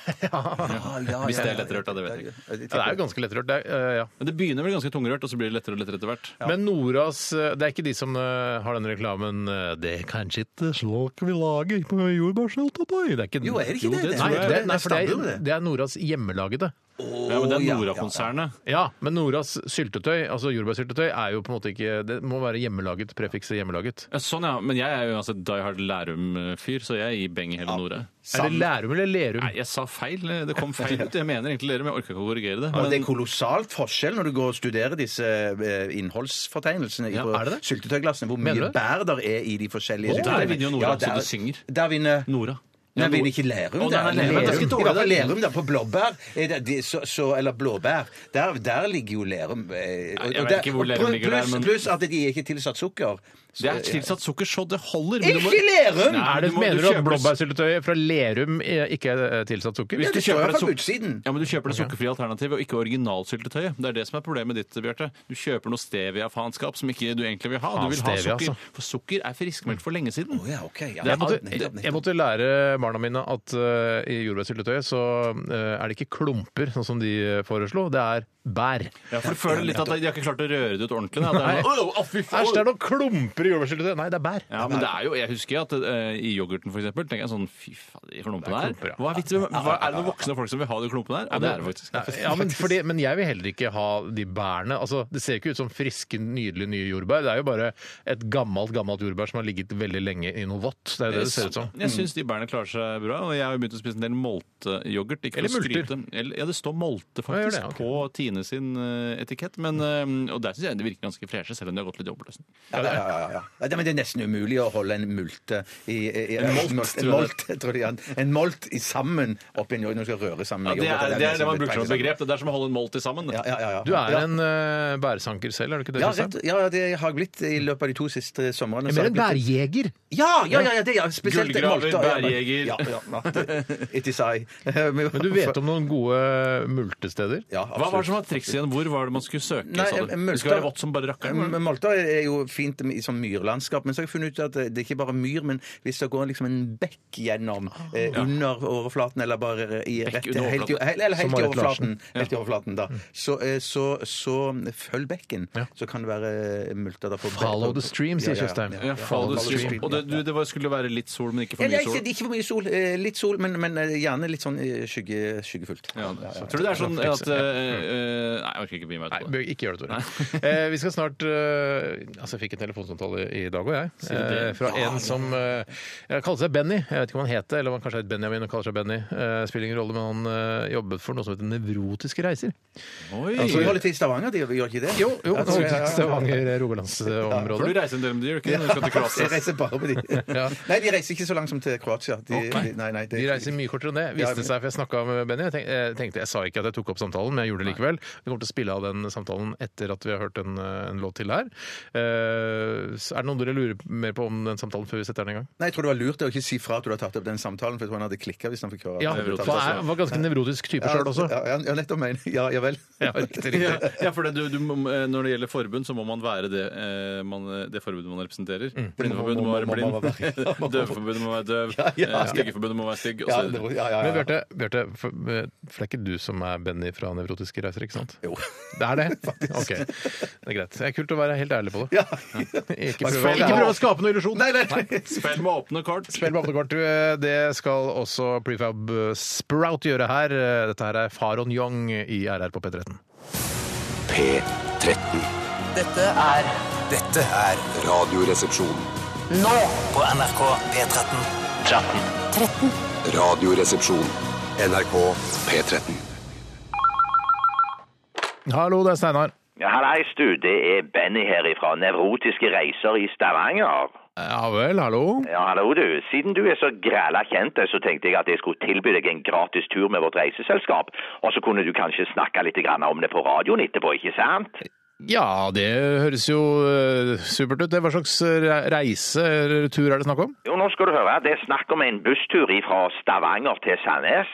det er lettrørt, da. Det vet jeg ikke. Ja, det er jo ganske lettrørt. Det er, eh, ja. Men det begynner vel ganske tungrørt, og så blir det lettere og lettere etter hvert. Men Noras eh, Det er ikke de som eh, har den reklamen eh, 'Det er kanskje ikke slik vi lager på jordbærsyltetøy'. Det er ikke Jo, er det ikke det? Nei, tror jeg. det, nei, for det, stammer jo er, det er Noras hjemmelagede. Ja, men det er ja, ja, ja. Nora-konsernet. Ja, men Noras syltetøy, altså jordbærsyltetøy, er jo på en måte ikke Det må være hjemmelaget, prefikset hjemmelaget. Ja, Sånn, ja. Men jeg er jo uansett Die Hard Lærum-fyr, så jeg gir beng i hele Nora. Er det Lærum eller Lerum? Nei, jeg sa feil. Det kom feil ut. Jeg mener egentlig Lærum, jeg orka ikke å korrigere det. Og det Men er kolossalt forskjell når du går og studerer disse eh, innholdsfortegnelsene i- Ja, på er det det? syltetøyglassene, hvor Mener du mye det? bær der er i de forskjellige Å, der syltetøyene. vinner jo Nora, så der- det synger. Der vinner Nora. Nei, vinner ikke Lerum. Å, der. nei, nei, Lerum er ganske I dårlig, hvert fall det. Lerum der på blåbær, er det, de, så, så, eller blåbær. Der, der ligger jo Lerum. eh, og- jeg vet og der- ikke hvor Lerum og ligger der, pluss- men- Pluss at de er ikke tilsatt sukker. Så- Det er tilsatt sukker så det holder. men du må- Ikke Lerum! Nei, Er det, du må- mener du kjøper- at blåbærsyltetøy fra Lerum eh, ikke er eh, tilsatt sukker? Hvis Ja, du det står kjøper iallfall et på suk- utsiden. Ja, men Du kjøper det sukkerfrie alternativet og ikke originalsyltetøyet. Det er det som er problemet ditt, Bjarte. Du kjøper noe stevia-faenskap som ikke du egentlig vil ha. Du vil ha Faen, stevia, sukker. altså. For sukker er friskmeldt for lenge siden. Å ja, ok. Ja, Jeg måtte, nettopp, nettopp, nettopp. jeg måtte lære barna mine at eh, i jordbærsyltetøyet så eh, er det ikke klumper, sånn som de eh, foreslo. Det er bær. Ja, for du føler litt at de har ikke klart å røre det ut ordentlig. Da. Det er Nei. noe, «Åh, å, fy faen!» Æsj, det er noen klumper i jordbærsyltetøyet! Nei, det er bær. Ja, men det er jo, Jeg husker jo at eh, i yoghurten for eksempel, tenker jeg sånn Fy faen, de klumpene Det er her. klumper, ja. Hva er, vitsen med- hva, er det noen voksne folk som vil ha de klumpene her? Og det er det faktisk. Ja, men, fordi, men jeg vil heller ikke ha de bærene. Altså, det ser ikke ut som friske, nydelige nye jordbær. Det er jo bare et gammelt gammelt jordbær som har ligget veldig lenge i noe vått. Det er det det ser ut som. Jeg syns de bærene klarer seg bra. Og jeg har jo begynt å spise en del molteyoghurt. ikke for Eller å multer. skryte. Eller, ja, det står molte Ja, gjør faktisk det, ok. på Tine sin eh, etikett. Men, eh, og der syns jeg det virker ganske freshe, selv om de har gått litt i oppløsning. Ja, ja, ja, ja, ja. ja. det- Men det er nesten umulig å holde en multe i, i, i En molt, en tror jeg. molt, tror jeg. det er. En molt i sammen oppi en yoghurt når du skal røre sammen. Ja, det, yoghurt, er, det er det man nesten bruker som litt begrep. Det er som å holde en molt i sammen. Ja, ja, ja, ja. Du er ja. en eh, bæresanker selv, er du ikke det? ja, Kristian? rett, ja, det har jeg blitt i løpet av de to siste somrene. Jeg så har mener en jeg blitt- bærjeger. Ja, ja, ja, ja, det, ja. Spesielt Gullgraver, molter, ja, men- bærjeger. Ja, ja, ja, det- It is I. Men Men du vet om noen gode eh, multesteder? ja, Hva var det som var trikset igjen? Hvor var det man skulle søke? Nei, sa du? eh, multer- Det skal være vått som bare rakkeren. Mm, Men Malta er jo fint i sånn myrlandskap, men så har jeg funnet ut at det er ikke bare myr, men hvis det går liksom en bekk gjennom eh, under overflaten, eller bare eh, i Ah. Bekk rett, under helt, i- overflaten. Mm. helt, eller helt Som i Marit overflaten, helt i overflaten da, så, eh, så, så følg bekken, Ja. så kan det være eh, multer der. for- Follow the stream, sier Ja, ja, ja. Tjøstheim. Ja, fall the stream. Og det, du, det var, skulle være litt sol, men ikke for Eller mye ikke, sol. det er ikke for mye mye sol. eh, Litt sol, men, men eh, gjerne litt sånn eh, skygge, skyggefullt. Ja, så tror du det er sånn at eh, eh, Nei, jeg orker ikke bry meg Nei, ut på det. bør ikke gjøre det, Tore. Eh, vi skal snart eh, Altså, jeg fikk en telefonsamtale i dag òg, jeg. Eh, fra en som eh, ja, kaller seg Benny. Jeg vet ikke om han het det, eller om han kanskje het Benjamin og kaller seg Benny. Eh, spiller ingen rolle, men han eh, jobbet for noe som heter Nevrotiske reiser. Oi! Så vi holder til i Stavanger, de gjør ikke det? Jo, jo, Ja, altså, så- ja, ja, ja. eh, For du Stavanger-Rogalandsområdet. reiser en del med dyr, ikke? Når du skal til Jeg Kroatia. reiser bare med de. Ja. Nei, de reiser ikke så langt som til Kroatia. De, de, nei, nei, det- De reiser mye kortere enn det. Ja, Viste men- det seg, for Jeg snakket med Benny. Jeg tenk- eh, tenkte, jeg sa ikke at jeg tok opp samtalen, men jeg gjorde det likevel. Vi kommer til å spille av den samtalen etter at vi har hørt en, eh, en låt til her. Eh, så er det noen dere lurer mer på om den samtalen før vi setter den i gang? Nei, jeg tror det var lurt å ikke si fra at du har tatt opp den samtalen, for jeg tror han hadde klikka hvis han fikk høre at Ja, altså, du for hadde tatt jeg opp var ganske nevrotisk type sjøl også. Ja, ja, ja, nettopp mener jeg. Ja, ja vel. Ja, riktig, Ja, riktig. ja, for det, du, du, må- eh, Når det gjelder forbund, så må man være det, eh, man, det forbundet man representerer. Blindeforbundet må, Mm. Må- må- være må- må- må- blind. må- Døveforbundet må være døv. Ja, ja, ja. eh, Styggeforbundet må være stygg. og Ja, så- det var- ja, ja, Men ja. Bjarte, Bjarte, for, eh, for det er ikke du som er Benny fra Nevrotiske reiser, ikke sant? Jo. Det er det? Ok, det er greit. Det er kult å være helt ærlig på det. Ja. Ikke prøve, ikke prøve å skape noe illusjon. Nei, nei. Spill med åpne kort. Spill med åpne kort. Det skal også Prefab eh, Sprout gjøre her. Eh, Dette her er Faron Young i RR på P13. P13. Dette er Dette er Radioresepsjon. nå på NRK P13. Radioresepsjon. NRK P13. Hallo, det er Steinar. Ja, Hallais, du. Det er Benny her ifra Nevrotiske reiser i Stavanger. Ja vel, hallo. Ja, hallo, du. Siden du er så græla kjent, så tenkte jeg at jeg skulle tilby deg en gratis tur med vårt reiseselskap. Og så kunne du kanskje snakke litt grann om det på radioen etterpå, ikke sant? Ja, det høres jo eh, supert ut. Det. Hva slags re- reise eller tur er det snakk om? Jo, nå skal du høre. Det er snakk om en busstur ifra Stavanger til Sandnes.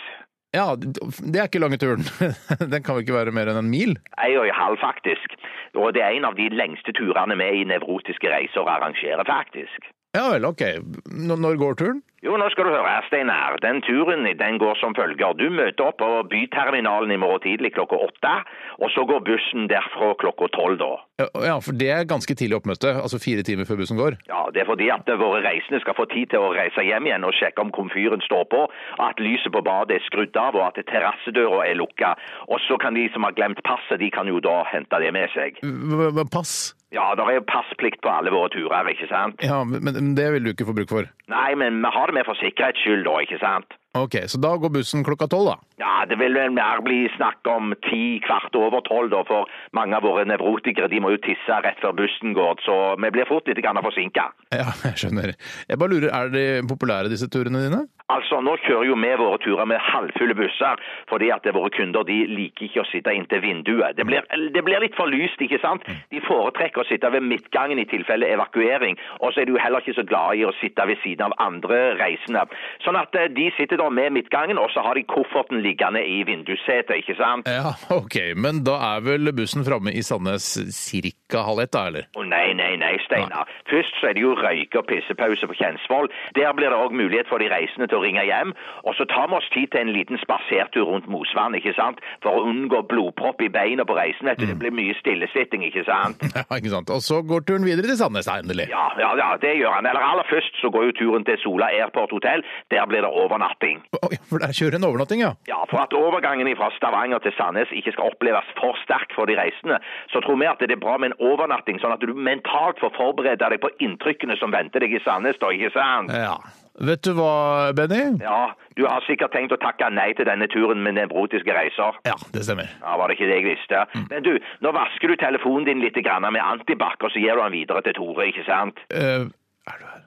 Ja, det er ikke lange turen. Den kan vel ikke være mer enn en mil? Ei og ei halv, faktisk. Og det er en av de lengste turene vi i Nevrotiske reiser arrangerer, faktisk. Ja vel, ok. N når går turen? Jo, nå skal du høre, Steinar. Den turen den går som følger. Du møter opp på byterminalen i morgen tidlig klokka åtte, og så går bussen derfra klokka tolv da. Ja, Ja, for det er ganske tidlig oppmøte, altså fire timer før bussen går. Ja, det er fordi at våre reisende skal få tid til å reise hjem igjen og sjekke om komfyren står på, at lyset på badet er skrudd av og at terrassedøra er lukka. Og så kan de som har glemt passet, de kan jo da hente det med seg. Hva- hva- Pass? Ja, det er jo passplikt på alle våre turer, ikke sant? Ja, men- men det vil du ikke få bruk for. Nei, men vi har det med for sikkerhets skyld da, ikke sant? Ok, så da går bussen klokka tolv, da. Ja, det vil vel mer bli snakk om ti kvart over tolv, da, for mange av våre nevrotikere de må jo tisse rett før bussen går, så vi blir fort litt grann forsinka. Ja, jeg skjønner. Jeg bare lurer, er de populære disse turene dine? Altså, nå kjører jo vi våre turer med halvfulle busser, fordi at våre kunder de liker ikke å sitte inntil vinduet. Det blir, det blir litt for lyst, ikke sant? De foretrekker å sitte ved midtgangen i tilfelle evakuering, og så er de jo heller ikke så glade i å sitte ved siden av andre reisende. Sånn at eh, de sitter da med midtgangen, og så har de kofferten liggende i vindussetet, ikke sant? Ja, ok, men da er vel bussen framme i Sandnes cirka halv ett, da, eller? Å nei, nei, nei, Steinar. Først så er det jo røyke- og pissepause på Kjensvoll. Der blir det òg mulighet for de reisende til å ringe hjem. Og så tar vi oss tid til en liten spasertur rundt Mosvann, ikke sant? For å unngå blodpropp i beina på reisen. Vet du. Det blir mye stillesitting, ikke sant? Ja, ikke sant. Og så går turen videre til Sandnes, da, endelig. Ja, ja, ja, det gjør han. Eller aller først så går jo turen til Sola Airport Hotel. Der blir det overnatting. Å, ja, For der kjører en overnatting, ja. Ja, for at overgangen fra Stavanger til Sandnes ikke skal oppleves for sterk for de reisende, så tror vi at det er bra med en overnatting, sånn at du mentalt får forberede deg på inntrykkene som venter deg i Sandnes, da, ikke sant? Ja. Vet du hva, Benny? Ja, du har sikkert tenkt å takke nei til denne turen med nevrotiske reiser. Ja, det stemmer. Ja, var det ikke det jeg visste? Men du, nå vasker du telefonen din litt grann med antibac, og så gir du den videre til Tore, ikke sant? Eh, er du her?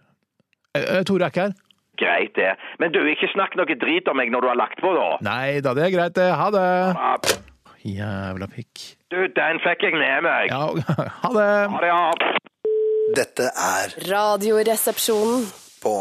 Eh, eh, Tore er ikke her. Greit det. Men du, ikke snakk noe drit om meg når du har lagt på, da. Nei da, det er greit, det. Ha det. Ja, Jævla pikk. Du, den fikk jeg med meg. Ja, ha det. Ha det, ja. Dette er Radioresepsjonen. på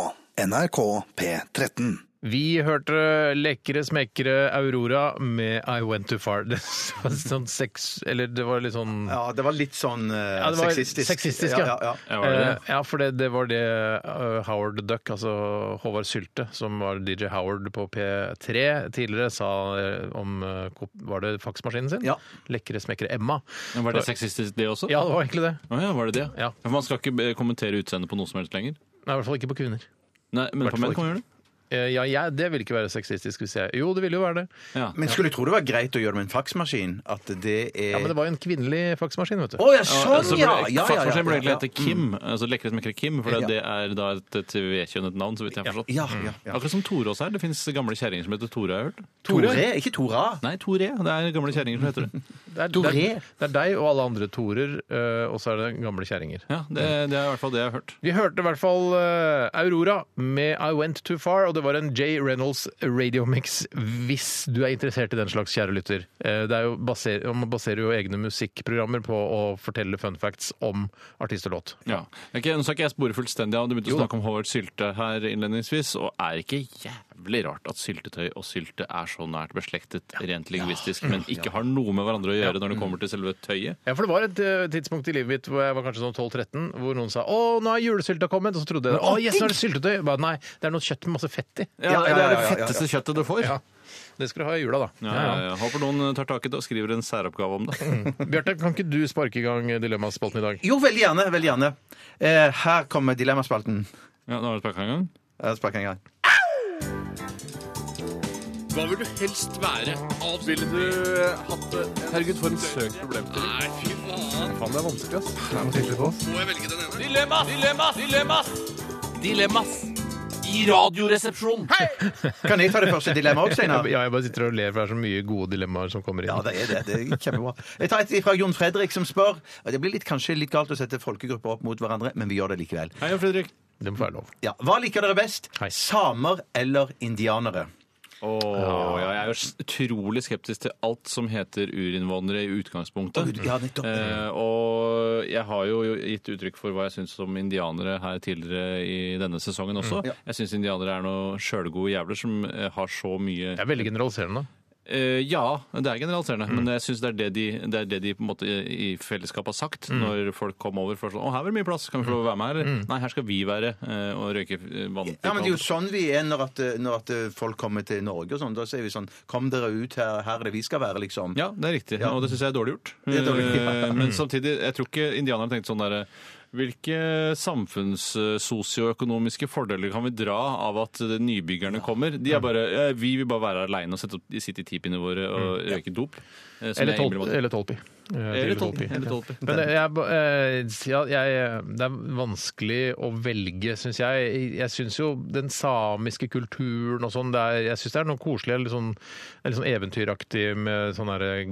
NRK P13. Vi hørte lekre, smekre Aurora med I Went Too Far. Det var sånn sex... Eller det var litt sånn Ja, det var litt sånn eh, Ja, det var sexistisk. sexistisk, ja. Ja, ja, ja. Ja, var det det? Eh, ja, for det, det var det eh, Howard Duck, altså Håvard Sylte, som var DJ Howard på P3 tidligere, sa eh, om eh, kop- Var det faksmaskinen sin? Ja. Lekre, smekre Emma. Men Var det sexistisk, det også? Ja, det var egentlig det. Å ja, var det det? Ja. For Man skal ikke eh, kommentere utseendet på noe som helst lenger? Nei, I hvert fall ikke på kvinner. Nei, men på Hvertfall menn kan man gjøre det. Eh, Ja, jeg, det ville ikke være sexistisk hvis jeg Jo, det ville jo være det. Ja. Men skulle du tro det var greit å gjøre det med en faksmaskin? At det Ja, er Men det altså, var jo en kvinnelig faksmaskin, vet du. Å ja, sånn, ja! ja, ja, ja, Faksmaskinen burde egentlig ja, Mm. hete Kim, altså Lekkerhetsmekker Kim, for Ja. det er da et tvekjønnet navn, så vidt jeg har forstått. ja, ja, Mm. ja. Akkurat som Tore også er. Det fins gamle kjerringer som heter Tore, har jeg hørt. Tore, ikke Tora. Nei, Tore. Det er gamle kjerringer som heter det. Det er, Tore. Det er, det er deg og alle andre torer, eh, og så er det gamle kjerringer. Ja, det, det er i hvert fall det jeg har hørt. Vi hørte i hvert fall eh, Aurora med I Went Too Far, og det var en Jay Reynolds radiomix hvis du er interessert i den slags, kjære lytter. Eh, det er jo baser, man baserer jo egne musikkprogrammer på å fortelle fun facts om artist og låt. Ja. Ok, nå skal ikke jeg spore fullstendig av. Du begynte å Jo da. snakke om Håvard Sylte her innledningsvis, og er ikke jævlig rart at syltetøy og sylte er så nært beslektet rent lingvistisk, men ikke har noe med hverandre å gjøre når det kommer til selve tøyet? Ja, for det var et eh, tidspunkt i livet mitt hvor jeg var kanskje sånn 12-13, hvor noen sa 'Å, nå er julesylta kommet', og så trodde jeg det. 'Å, yes, nå er det syltetøy'. Jeg Bare, Nei, det er noe kjøtt med masse fett i. Ja, ja, Det ja, er ja, det ja, ja. fetteste kjøttet du får. Ja. Det skal du ha i jula, da. Ja, ja, ja. Håper noen tar tak i det og skriver en særoppgave om det. Bjarte, kan ikke du sparke i gang Dilemmaspalten i dag? Jo, veldig gjerne. veldig gjerne. Eh, her kommer dilemmaspalten. Ja, nå har du sparka en gang. Jeg sparker en gang. Hva vil du helst være? Ville du hatt det? Herregud, for en søk problem til. Nei, fy faen. Faen, det er vanskelig, ass. Må jeg velge den ene? Dilemmas! Dilemmas! Dilemmas! Dilemmas! I radioresepsjonen! Kan jeg ta det første dilemmaet òg, Steinar? Ja, jeg bare sitter og ler, for det er så mye gode dilemmaer som kommer inn. Ja, det er det. Det er kjempebra. Jeg tar et fra Jon Fredrik som spør. og Det blir litt, kanskje litt galt å sette folkegrupper opp mot hverandre, men vi gjør det likevel. Hei, Jan Fredrik. Det må være lov. Ja. Hva liker dere best? Hei. Samer eller indianere? Åh, ja, jeg er jo s- utrolig skeptisk til alt som heter urinnvånere i utgangspunktet. Ja, nettopp. Eh, og jeg har jo gitt uttrykk for hva jeg syns om indianere her tidligere i denne sesongen også. Mm, Jeg syns indianere er noen sjølgode jævler som eh, har så mye Det er veldig generaliserende. Eh, Ja, det er generaliserende, Mm. men jeg syns det, er det, de, det er det de på en måte i i fellesskap har sagt Mm. når folk kom over. For sånn, å, her er det mye plass, kan vi få lov å være med her? eller? Nei, her skal vi være eh, og røyke eh, vann. Ja, men Det er jo sånn vi er når, at, når at folk kommer til Norge. og sånn. Da sier vi sånn Kom dere ut, her, her er det vi skal være, liksom. Ja, det er riktig. Og det syns jeg er dårlig gjort. Det er dårlig, ja. Eh, Men samtidig, jeg tror ikke indianerne tenkte sånn derre hvilke samfunnssosioøkonomiske fordeler kan vi dra av at eh, nybyggerne kommer? De er bare, eh, Vi vil bare være aleine og sette opp, sitte i tipene våre og røyke dop. eh, som Eller, jeg tolp, innbiller meg- eller tolpi. Eh, Eller til tolpi. tolpi. Eller tolpi. Men det- jeg, ba- eh, ja, jeg, det er vanskelig å velge, syns jeg. Jeg syns jo den samiske kulturen og sånn det er, Jeg syns det er noe koselig, litt sånn, det er litt sånn eventyraktig med sånn derre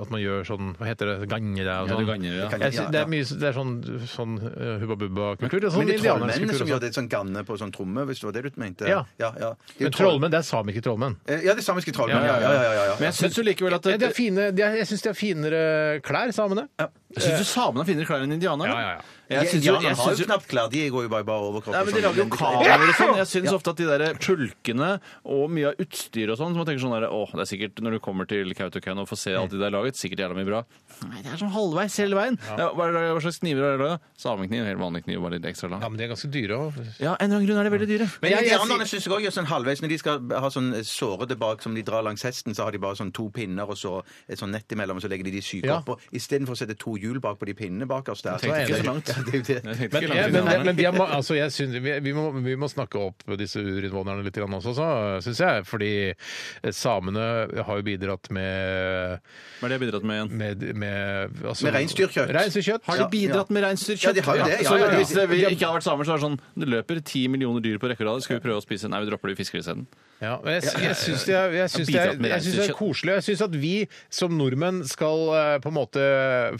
At man gjør sånn Hva heter det? Gangere og Ja, det sånn. gagner, ja. Jeg synes, det er mye det er sånn, sånn eh, hubba bubba-kultur. Sånn Men det indianersk er trollmennene kultur som også. gjør det sånn ganne på sånn tromme, hvis det var det du mente? Ja. ja, ja. Det er jo Men trollmenn, det er samiske trollmenn. Eh, Ja, det er samiske trollmenn. Ja, ja, ja. ja, ja, Men jeg syns jo likevel at Ja, de har fine, de har, jeg syns de har finere klær, samene. Syns du samene har finere klær enn indianerne? Ja, ja, ja. Jeg syns jo, Indianerne jeg har syns jo jo knapt klær. De går jo bare i bare overkropp. Nei, og men De sånn. lager jo kameraer og sånn. Jeg syns ofte at de der pulkene og mye av utstyret og sånn, så man tenker sånn der, åh, det er sikkert når du kommer til Kautokeino og får se alt de der laget, sikkert jævla mye bra. Nei, det er sånn halvveis hele veien. Ja. Hva, er det- hva slags kniver er det da? Samekniv, helt vanlig kniv, bare litt ekstra Ja, lang. men de er ganske dyre òg. Ja, en eller annen grunn er de veldig dyre. Men Jeg- jeg indianerne syns jeg også gjør sånn halvveis. Når de skal ha sånn sårede bak som de drar langs hesten, så har de bare sånn to pinner og så et sånn nett imellom, og så legger de de syke Ja. oppå. Istedenfor å sette to hjul bak på de pinnene bakerst der. tenkte ikke så langt. Ja, det er jo det. Jeg tenkte Men, ikke ja, langt men, unna. men vi, er, altså, jeg syns- vi, vi, må, vi må snakke opp disse urinnvånerne litt grann også, så, syns jeg. Fordi eh, samene har jo bidratt med Hva er det jeg har bidratt med igjen? Med, med, altså, Med reinsdyrkjøtt. Reinsdyrkjøtt. Har de bidratt med reinsdyrkjøtt? Ja, de har jo det, ja, så ja, ja. hvis det vi ikke hadde vært samer, så er det sånn Det løper ti millioner dyr på rekke og rad, skal vi prøve å spise Nei, vi dropper det, vi fisker isteden. Ja, men jeg, jeg syns det, er- jeg syns det, Bidratt er- med jeg syns det er reinsdyrkjøtt. koselig. og Jeg syns at vi som nordmenn skal eh, på en måte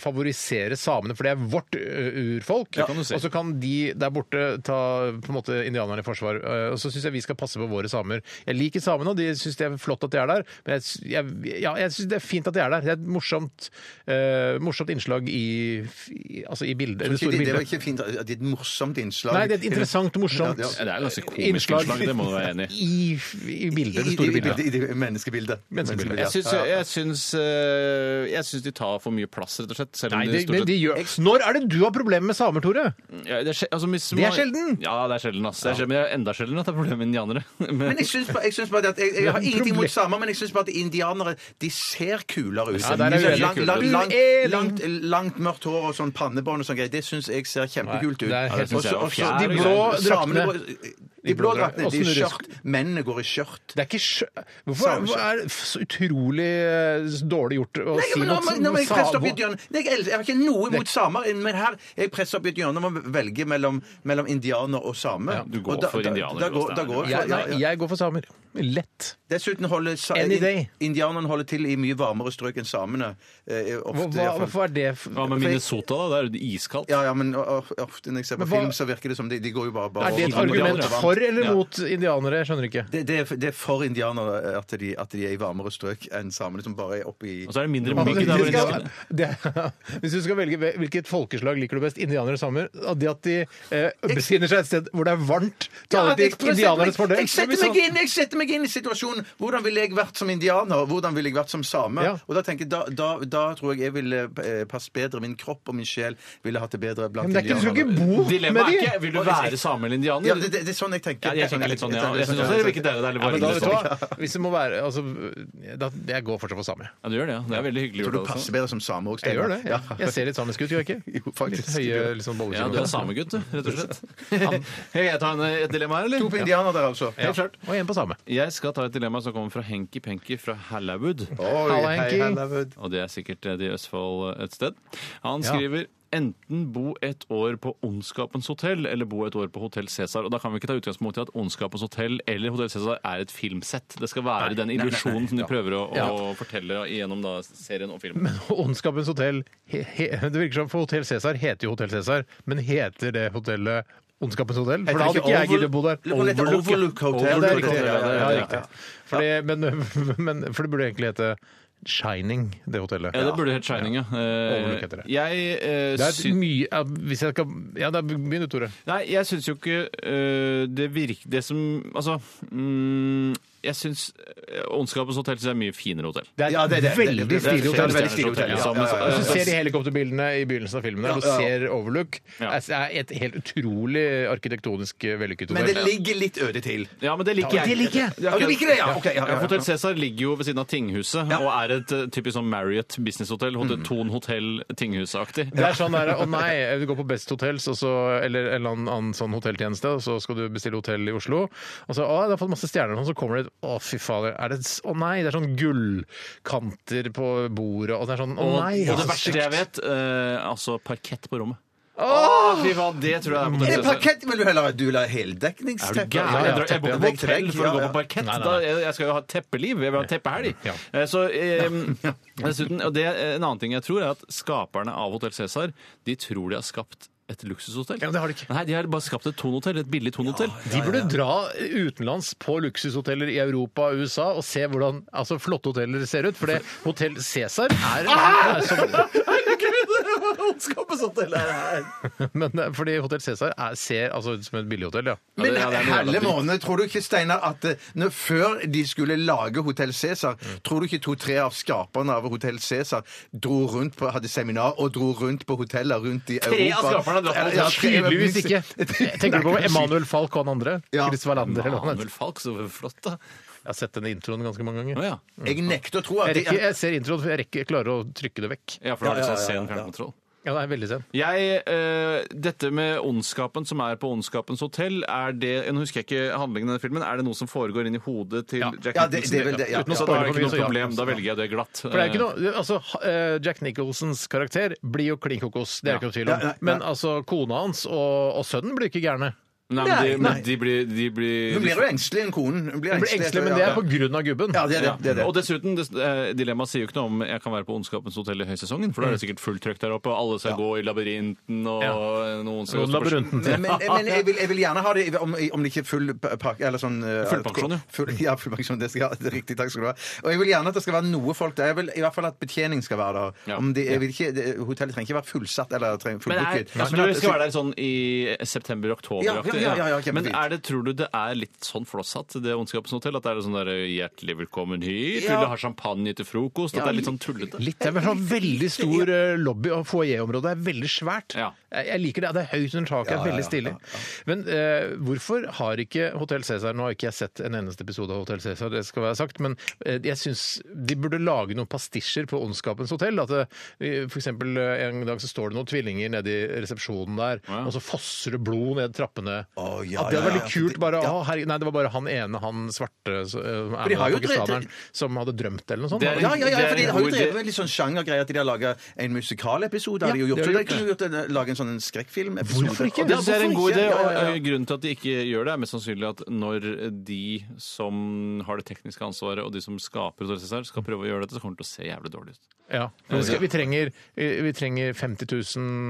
favorisere samene, for det er vårt eh, urfolk. Det kan du si. Og så kan de der borte ta på en måte indianerne i forsvar. eh, Og så syns jeg vi skal passe på våre samer. Jeg liker samene, og de syns det er flott at de er der. Men jeg, s- jeg, ja, jeg syns det er fint at de er der. Det er et morsomt, eh, morsomt innslag i, i, altså i bildet, det Det, store det var bildet. ikke fint. Det er et morsomt innslag. Nei, det er et interessant, morsomt Ja, Det er ganske komisk innslag, det må du være enig i. i. I bildet, det I, store i, bildet. i, i, i menneskebildet. Menneskebildet, Jeg syns, jeg, syns, eh, jeg syns de tar for mye plass, rett og slett. Selv om Nei, de det, stort men sett- de gjør Når er det du har problemer med samer, Tore? ja, det, er, sjel- altså, hvis Det er man- sjelden. Ja, det er sjelden. Ass. Det er sjelden men det er enda sjelden at det er problemer med indianere. Men jeg syns bare, jeg synes bare det at jeg, jeg har Problem. ingenting mot samer, men jeg syns bare at indianere de ser kulere ut. Ja, der er De jeg har uenig. langt, langt, langt, Uenig. langt, langt mørkt hår og sånn pannebånd og sånn greier. Det syns jeg ser kjempekult ut. Nei, det er helt- Også- synes jeg var også- fjær, de liksom. blå Samene draktene går- De blå draktene, Og de i snurrer- skjørt. Mennene går i skjørt. Det er ikke skjø... Hvorfor er, Samer- hva er det så utrolig eh, så dårlig gjort å Nei, si men, noe nå, men, nå, men jeg presser opp i et sabo? hjørne. Nei, jeg, elsker- jeg har ikke noe imot samer, men her jeg presser opp i et hjørne om å velge mellom, mellom indianer og same. du går Og for indianer, Da, da, går- Jostein. da går jeg Jeg, for, ja, nei, ja. jeg går for samer. Lett. Dessuten holder sa- Any day. indianerne holder til i mye varmere strøk enn samene. eh, Hva, hva, ofte, iallfall. hvorfor er det f- Hva med Minnesota, da? Der er det iskaldt. Ja, ja, men o- o- ofte når jeg ser på Men hva- film, så virker det som de, de går jo bare, bare Er det et over- argument Indianere, over- va? for eller Ja. mot indianere? Jeg skjønner ikke. det, det, er, det er for indianere eh, at de, at de er i varmere strøk enn samene som bare er oppe i Og så er det mindre Altså, mygg hvis, der. du hvor skal, det- det, hvis du skal velge hvil- hvilket folkeslag liker du best, indianere og samer at Det at de eh, befinner seg et sted hvor det er varmt, taler jeg, til indianernes fordel. jeg, setter meg sånn- inn, jeg setter meg inn i situasjonen. Hvordan ville jeg vært som indianer? Hvordan ville jeg vært som same? Ja. Og da, tenker jeg, da, da, da tror jeg jeg ville eh, passet bedre. Min kropp og min sjel ville hatt det bedre blant Men det er ikke, du skal ikke indianerne. bo med Dilemmaet er de! ikke vil du være same eller indianer. Ja, det, det, det er sånn jeg tenker. Ja, jeg tenker litt sånn, ja. Jeg synes også det virker deilig. deilig Ja, men varmere da, vet du sånn. hva? Hvis det må være altså, da, Jeg går fortsatt for same. Ja, du gjør det, ja. Det er veldig hyggelig Jeg gjort. tror du altså. passer bedre som same òg, Jeg gjør det. Ja. Jeg ser litt samisk ut, gjør jeg ikke? Jo, faktisk. Litt høye liksom, Ja, bollekilo. du er samegutt, du, rett og slett. Han- Hei, jeg tar en, eh, et dilemma her, eller? To på indianer der, altså. Ja. Og en på same. Jeg skal ta et dilemma som kommer fra Henki Penki fra Hallawood. Oi, Halla, hei, Henki. halla, bud. Og det er sikkert eh, det i Østfold eh, et sted. Han Ja. skriver Enten bo et år på Ondskapens hotell eller bo et år på Hotell Cæsar. Og da kan vi ikke ta utgangspunkt i at Ondskapens hotell eller Hotell Cæsar er et filmsett. Det skal være den illusjonen som de prøver å, å fortelle gjennom da, serien og filmen. Men Ondskapens hotell he, he, Det virker som for Hotell Cæsar heter jo Hotell Cæsar, men heter det hotellet Ondskapens hotell? For da hadde ikke ikke jeg Over- giddet å bo der. Eller heter Overlook, ja. Overlook Ja, Hotel. det Overlook er riktig. Hotel, Ja, det er ja, riktig. riktig. For det- men, men, for det burde egentlig hete Shining, det hotellet. Ja, det burde hett Shining, ja. Eh, Overlook heter det. Jeg, eh, Det er syn- mye ja, Hvis jeg skal Ja, da begynn du, Tore. Nei, jeg syns jo ikke øh, det virker Det som Altså mm, Jeg syns eh, Ondskapens hotell synes jeg er mye finere hotell. Det er Ja, det er det. Det- det- det- veldig det- stilig det er et hotell. veldig stilig hotell, ja. Sammen- Ja, ja, ja. Hvis du øh, ser de helikopterbildene i begynnelsen av filmen, der du Ja, ja. ser Overlook, altså, Ja. det er et helt utrolig arkitektonisk eh, vellykket Men det hotell. ligger litt øde til. Ja, men det liker jeg. Det liker jeg. Ja, du liker det, ja. Ok, ja, ja, ja. Hotell Cæsar ligger jo ved siden av Tinghuset og er et eh, typisk sånn Marriott businesshotell. Hotel Mm. Thon hotell Tinghuset-aktig. Det er sånn der, å nei, du går på Best Hotels og så, eller en eller annen, annen sånn hotelltjeneste, og så skal du bestille hotell i Oslo. Og så å, det har fått masse stjerner, og sånn, så kommer det et Å, fy fader. Er det, s- å nei, det er sånn gullkanter på bordet, og det er sånn Å Og, nei. og det så verste stygt. jeg vet, eh, altså parkett på rommet. Fy faen, det tror jeg er på Er det Hotell Cæsar. parkett? Vil du heller ha du vil ha Er du heldekkningsteppe? gæren? Ja, ja, Jeg drar- Jeg bor teppe, ikke ja. på hotell for Ja, å gå ja. på parkett. Nei, nei, Da, nei. jeg jeg skal jo ha teppeliv. Jeg vil ha teppehelg. Ja. Eh, Så, eh, dessuten, og det, eh, en annen ting jeg tror, er at skaperne av Hotell Cæsar de tror de har skapt et luksushotell. Ja, men det har de ikke. Nei, de har bare skapt et tonhotell. Et billig tonhotell. De burde dra utenlands på luksushoteller i Europa og USA og se hvordan altså, flotte hoteller ser ut. For det Hotell Cæsar er, er som, men, eh, Fordi Hotell Cæsar er- ser altså, ut som et billighotell, ja. Men Ja, det- ja, det er noe jævla helle dyrt. måned, tror du ikke, Steinar, at eh, når, før de skulle lage Hotell Cæsar, tror du ikke to-tre av skaperne av Hotell Cæsar dro rundt på, hadde seminar og dro rundt på hoteller rundt i Europa? av skaperne har dratt på Ja, hotell. ja, tre- Tydeligvis ikke. Tenker du på Emanuel Falk og han andre? Ja. Chris Wallander eller hva han Manuel heter. Falk, så flott, da. Jeg har sett den introen ganske mange Å ganger. ja. Jeg nekter å tro at Jeg, de rekker, jeg ser introen, for jeg rekker, jeg klarer å trykke det vekk. ja, for da er det sånn sen fjernkontroll. Ja, det er veldig sen. Jeg, eh, dette med ondskapen som er på Ondskapens hotell, er det Nå husker jeg ikke handlingen i den filmen. Er det noe som foregår inni hodet til Ja. Jack Ja, det- det er vel Nicholson? det, ja. Uten å Ja, spare det er for ikke mye, så ja. noe problem. Da velger jeg det glatt. For det er jo ikke noe, altså, ha- eh, Jack Nicholsons karakter blir jo klin kokos, det er det ikke noe tvil Ja, nei, om. Men altså, kona hans og, og sønnen blir ikke gærne. Eh, Nei, men de, Nei, men de blir, de blir, Hun blir jo engstelig, en konen. Hun blir De blir engstelige, men det er på grunn av gubben. Ja, det er det. ja. det, er det. Og dessuten, det, eh, dilemmaet sier jo ikke noe om jeg kan være på Ondskapens hotell i høysesongen, for da Mm. er det sikkert fullt trøkk der oppe, og alle skal gå i labyrinten, og noen skal Noen gå på- labyrinten. Men, men, men jeg, vil, jeg vil gjerne ha det om, om det ikke er full pa- pakke eller sånn eh, Full pensjon, ja. Full, ja, full pensjon. Det, skal, det er riktig. Takk skal du ha. Og jeg vil gjerne at det skal være noe folk der. Jeg vil i hvert fall at betjening skal være der. Ja. Om det, jeg vil ikke, det, hotellet trenger ikke være fullsatt eller treng- Men er, fullbooket. altså, Men du at- skal være der sånn i september-oktober. Ja, ja, ja, ja, ja, men kjempefint. er det, tror du det er litt sånn flosshatt, det Ondskapens hotell? At det er sånn der 'hjertelig velkommen hit', Ja. vil du ha champagne til frokost? At det er litt sånn tullete? Litt, det er vel sånn veldig stor eh, lobby og foajéområde. Det er veldig svært. Ja. Jeg, jeg liker det. Det er høyt under taket. det er veldig stilig. Men eh, hvorfor har ikke Hotell Cæsar Nå har ikke jeg sett en eneste episode av Hotell Cæsar, det skal være sagt, men eh, jeg syns de burde lage noen pastisjer på Ondskapens hotell. At det, eh, for eksempel eh, en dag så står det noen tvillinger nede i resepsjonen der, og så fosser det blod ned trappene det. Å, ja, at det hadde vært ja, litt ja. kult. bare, å, herregud, Nei, det var bare han ene, han svarte så, eh, de har jo pakistaneren, drevet- som hadde drømt eller noe sånt. Det er- hadde de Ja, ikke? ja, ja, for de har jo Hvor det- drevet med litt sånn sjangergreier at de har laga en musikalepisode. har de jo gjort. de har Så de gjort kunne jo gjort en, lage en sånn skrekkfilmepisode. Hvorfor ikke? Og Det er en god idé, sånn Ja, og ja, eh, ja. grunnen til at de ikke gjør det, er mest sannsynlig at når de som har det tekniske ansvaret, og de som skaper og regisserer, skal prøve å gjøre dette, så kommer det til å se jævlig dårlig ut. Ja. Men vi, skal, vi, trenger, vi trenger 50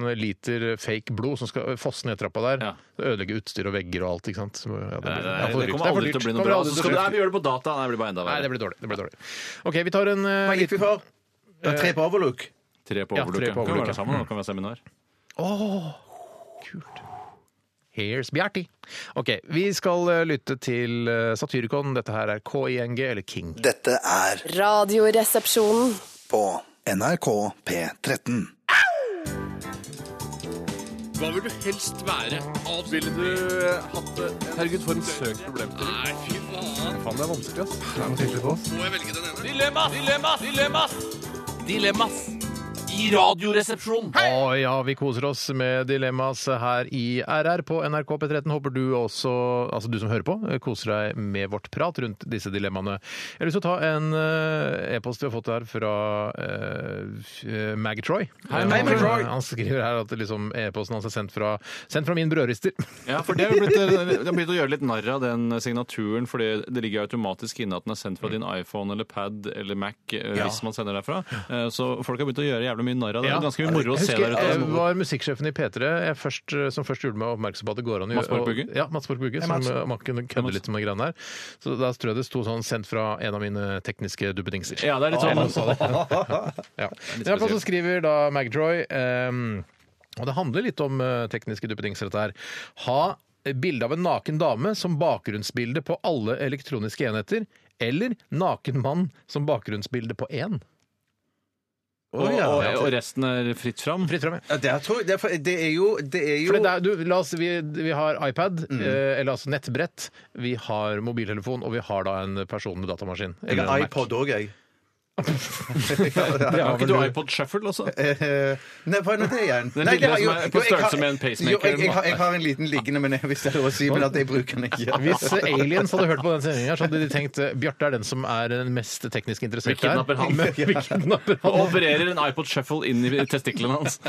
000 liter fake blod som skal fosse ned trappa der. Ja. Ødelegge utstyr og vegger og alt. ikke sant? Så, ja, Nei, blir- nei, ja, for det dyrt. kommer er for aldri til dyrt. å bli Kommer noe bra. aldri Så til å skal du, nei, bli- vi gjør det på data. Nei, det blir bare enda Nei, det verre. blir dårlig. Det blir dårlig. OK, vi tar en eh, Hva gikk vi liten for? Eh, Det var tre på overlook. Tre på Ja, tre overlooket. Kan vi på overlooket. være der sammen, da kan vi ha seminar. Here's Bjerti. OK, vi skal eh, lytte til eh, Satyricon. Dette her er KING eller King. Dette er Radioresepsjonen. på NRK P13. Å ja, vi koser oss med Dilemmas her i RR på NRK P13. Håper du også, altså du som hører på, koser deg med vårt prat rundt disse dilemmaene. Jeg har lyst til å ta en eh, e-post vi har fått her fra uh, Magtroy. Hei, Mag Han- Troy. Eh, Han skriver her at liksom, e-posten hans er sendt fra, sendt fra min brødrister. Ja, for det har blitt, det har blitt å gjøre litt narr av den signaturen, fordi det ligger automatisk inne at den er sendt fra din iPhone eller Pad eller Mac eh, hvis man sender derfra. Eh, Så folk har begynt å gjøre jævlig mye narr av det. Det er ganske mye moro å Jeg se husker der ute. Jeg var musikksjefen i P3 jeg først, eh, som først gjorde meg oppmerksom på at det går an å Mats Borg Bugge? Ja, Mats Borg Bugge, som eh, man kunne kødde litt med de greiene der. Så da tror jeg det sto sånn sendt fra en av mine tekniske duppedingser. Ja, det er litt sånn. Ja. I hvert fall så skriver da Magdroy ehm, Og det handler litt om eh, tekniske duppedingser, dette her. Ha bilde av en naken dame som bakgrunnsbilde på alle elektroniske enheter. Eller naken mann som bakgrunnsbilde på én. Og, og, og resten er fritt fram. Fritt frem, ja. Ja, der tror jeg, det, er, for- det er jo, det er jo Mm. Fordi det er, du, la oss, vi, vi har iPad, eh, eller altså nettbrett, vi har mobiltelefon, og vi har da en person med datamaskin. Jeg Eller en har Mac. iPod òg, jeg. Har ikke du iPod Shuffle også? Eh, Nei, hva er det igjen? er Nei, bildet har som er på jo, jeg har- størrelse med en pacemaker Jo, jeg, eller jeg, noe. har, jeg har en liten liggende, men jeg, hvis det er lov å si, men at jeg bruker den ikke. Hvis aliens hadde hørt på den sendingen, her, så hadde de tenkt eh, Bjarte er den som er den mest teknisk interessert Vi kidnapper han. Men- Vi kidnapper Og han. opererer en iPod Shuffle inn i testiklene hans.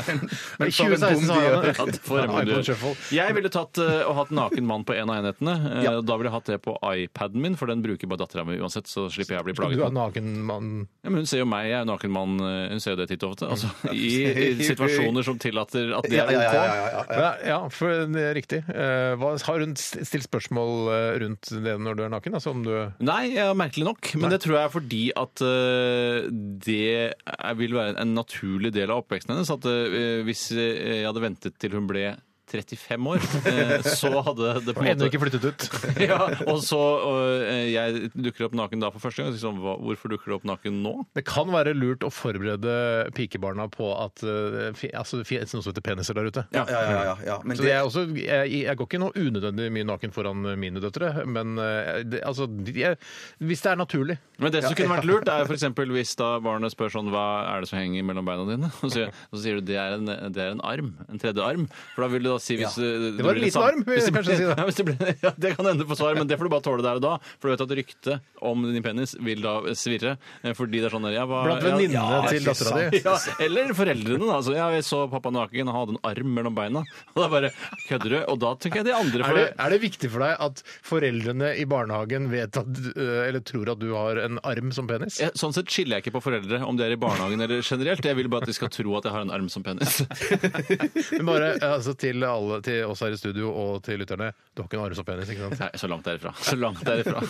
Men i som en 2016 bom har han de Ja, det får en jeg iPod med Shuffle. du. Jeg ville tatt eh, og hatt naken mann på en av enhetene. Eh, Da ville jeg hatt det på iPaden min, for den bruker bare dattera mi uansett. Så slipper jeg å bli Du plaget. er naken mann. Ja, men hun ser jo meg, jeg er naken mann. eh, Hun ser jo det titt og ofte. Altså, I i situasjoner som tillater at det Ja, er ja, ja, ja, OK. ja, ja. Ja, ja for det er riktig. Eh, hva, har hun st- stilt spørsmål eh, rundt det når du er naken? Altså om du Nei, ja, merkelig nok. Men det tror jeg er fordi at eh, det er- vil være en naturlig del av oppveksten hennes. At eh, hvis eh, jeg hadde ventet til hun ble 35 år, eh, så hadde det på en ennå måte ikke flyttet ut? ja, og så øh, jeg dukker opp naken da for første gang. Så Liksom, hva, hvorfor dukker du opp naken nå? Det kan være lurt å forberede pikebarna på at eh, fi, altså, det finnes noe som heter peniser der ute. Ja, ja, ja, ja. Men Så det jeg, er også, jeg, jeg går ikke noe unødvendig mye naken foran mine døtre, men eh, det, altså, jeg, hvis det er naturlig. Men det som kunne vært lurt, er f.eks. hvis da barnet spør sånn Hva er det som henger mellom beina dine? Og så, og så sier du det er, en, det er en arm. En tredje arm. For da vil du da si hvis øh, Det var blir en liten sam- arm, Hvis det, kanskje å si blir, det. ja, hvis det, blir, ja, det kan ende på svar, men det får du bare tåle der og da. For du vet at ryktet om din penis vil da svirre. eh, Fordi det er sånn der, ja, hva, Blant ja, venninnene ja, til ikke dattera sant. di. Ja, eller foreldrene. da. Altså, ja, jeg så pappa naken, han hadde en arm mellom beina. Og da bare kødder du. Og da tenker jeg de andre Er det, er det viktig for deg at foreldrene i barnehagen vet at, du- eh, eller tror at du har en arm som penis? Jeg, sånn sett skiller jeg ikke på foreldre, om det er i barnehagen eller generelt. Jeg vil bare at de skal tro at jeg har en arm som penis. Men bare eh, altså, til, alle, til oss her i studio og til lytterne, du har ikke en arm som penis, ikke sant? Nei, så langt derifra. Så langt derifra.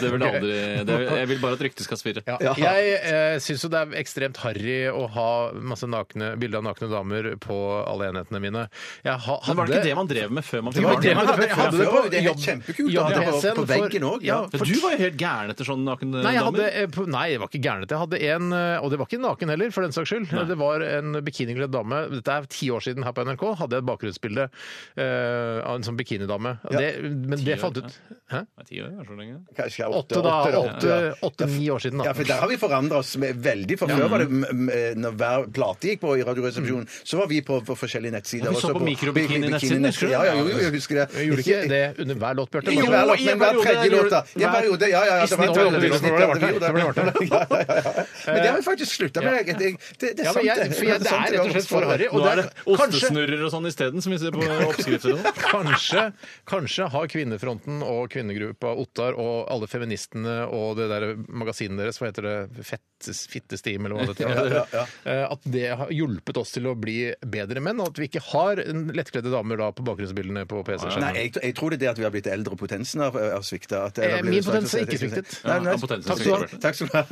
Det vil jeg aldri det, Jeg vil bare at ryktet skal svirre. Ja. Jeg eh, syns jo det er ekstremt harry å ha masse nakne, bilder av nakne damer på alle enhetene mine. Jeg ha, hadde, Men var det ikke det man drev med før man Det fikk var det man barn? drev med før. Ja, det var- det er Jobb- kjempekult å ha det på- jobb-PC-en på for- veggen også, ja. ja, for- Du var jo helt gæren etter sånne nakne Nei, jeg hadde, damer. eh, på- nei, jeg var ikke gærnet. Jeg hadde en, eh, og det var ikke naken heller, for den saks skyld. Det var en bikinikledd dame. Dette er ti år siden her på NRK. Hadde jeg et bakgrunnsbilde eh, av en sånn bikinidame. Det, men det år, fant ut Hæ? Nei, ti år, er det så lenge. Kanskje kanskje Åtte, da. Åtte- Åtte-ni år siden, Ja, da. for Der har vi forandra oss med- veldig. For før var det m- m- eh, Når hver plate gikk på i Radioresepsjonen, så var vi på, på forskjellige nettsider. Ja, vi så også på mikrobikini-nettsiden, bikini-nettsider. husker du? Ja, ja, jo, jo, jeg husker det. Jeg gjorde ikke det under hver låt, Bjarte. Ikke Bare- hver låt, i en men hver periode, tredje gjorde låt, da. du- I en periode, ja, ja. I ja, det var en snitt var det åtte periode, i snitt, minutter, ja, det ble åtte minutter. Ja, ja, ja, ja. Men det har vi faktisk slutta med. Jeg- jeg- Det, det er Ja, sant, men jeg, for jeg, det sant, er rett og slett for harry. Nå Og er det kanskje, ostesnurrer og sånn isteden, som vi ser på oppskrifter. Kanskje, kanskje har Kvinnefronten og kvinnegruppa Ottar og alle feministene og det der magasinet deres, hva heter det, Fettes, Fittestim eller hva det heter, Eh, at det har hjulpet oss til å bli bedre menn, og at vi ikke har en lettkledde damer da på bakgrunnsbildene på Nei, PC-skjermen. jeg, jeg tror det er det at vi har blitt eldre og potensen har, har svikta. Eh, min potens er ikke sviktet. Nei, nei, Ja, potensen takk, svikter skal du ha. takk skal du ha.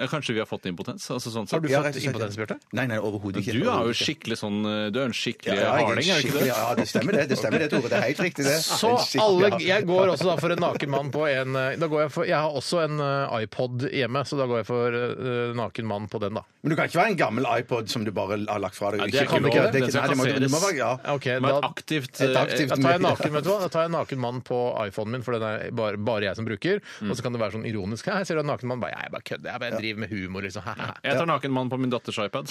Ja, kanskje vi har fått impotens? Altså, sånn sett. Har du Ja, fått rett og slett. impotens, Bjarte? Nei, nei, overhodet ikke. Du er jo Overhodet ikke. skikkelig sånn Du er en skikkelig Ja, jeg er en harding, er du ikke skikkelig- det? Ja, det stemmer det. Det stemmer det, Tore. Det er helt riktig, det. Så En skikkelig- alle, ja. jeg går også da for en naken mann på en eh, da går jeg, for, jeg har også en eh, iPod hjemme, så da går jeg for eh, naken mann på den, da. Men du kan ikke være en gammel iPod som du bare har lagt fra deg. og Nei, det er ikke- ikke lov. det er Den ikke- skal nei, det må- det må kasseres. være- ja. Ok, Med et da- aktivt, Et aktivt- eh, Da tar jeg naken, vet du hva? Da tar jeg naken mann på iPhonen min, for den er bare, bare jeg som bruker. Mm. Og så kan det være sånn ironisk. Her ser du en naken mann. Bare, jeg bare kødder. Jeg bare driver med humor, liksom. Jeg tar naken mann på min datters iPad.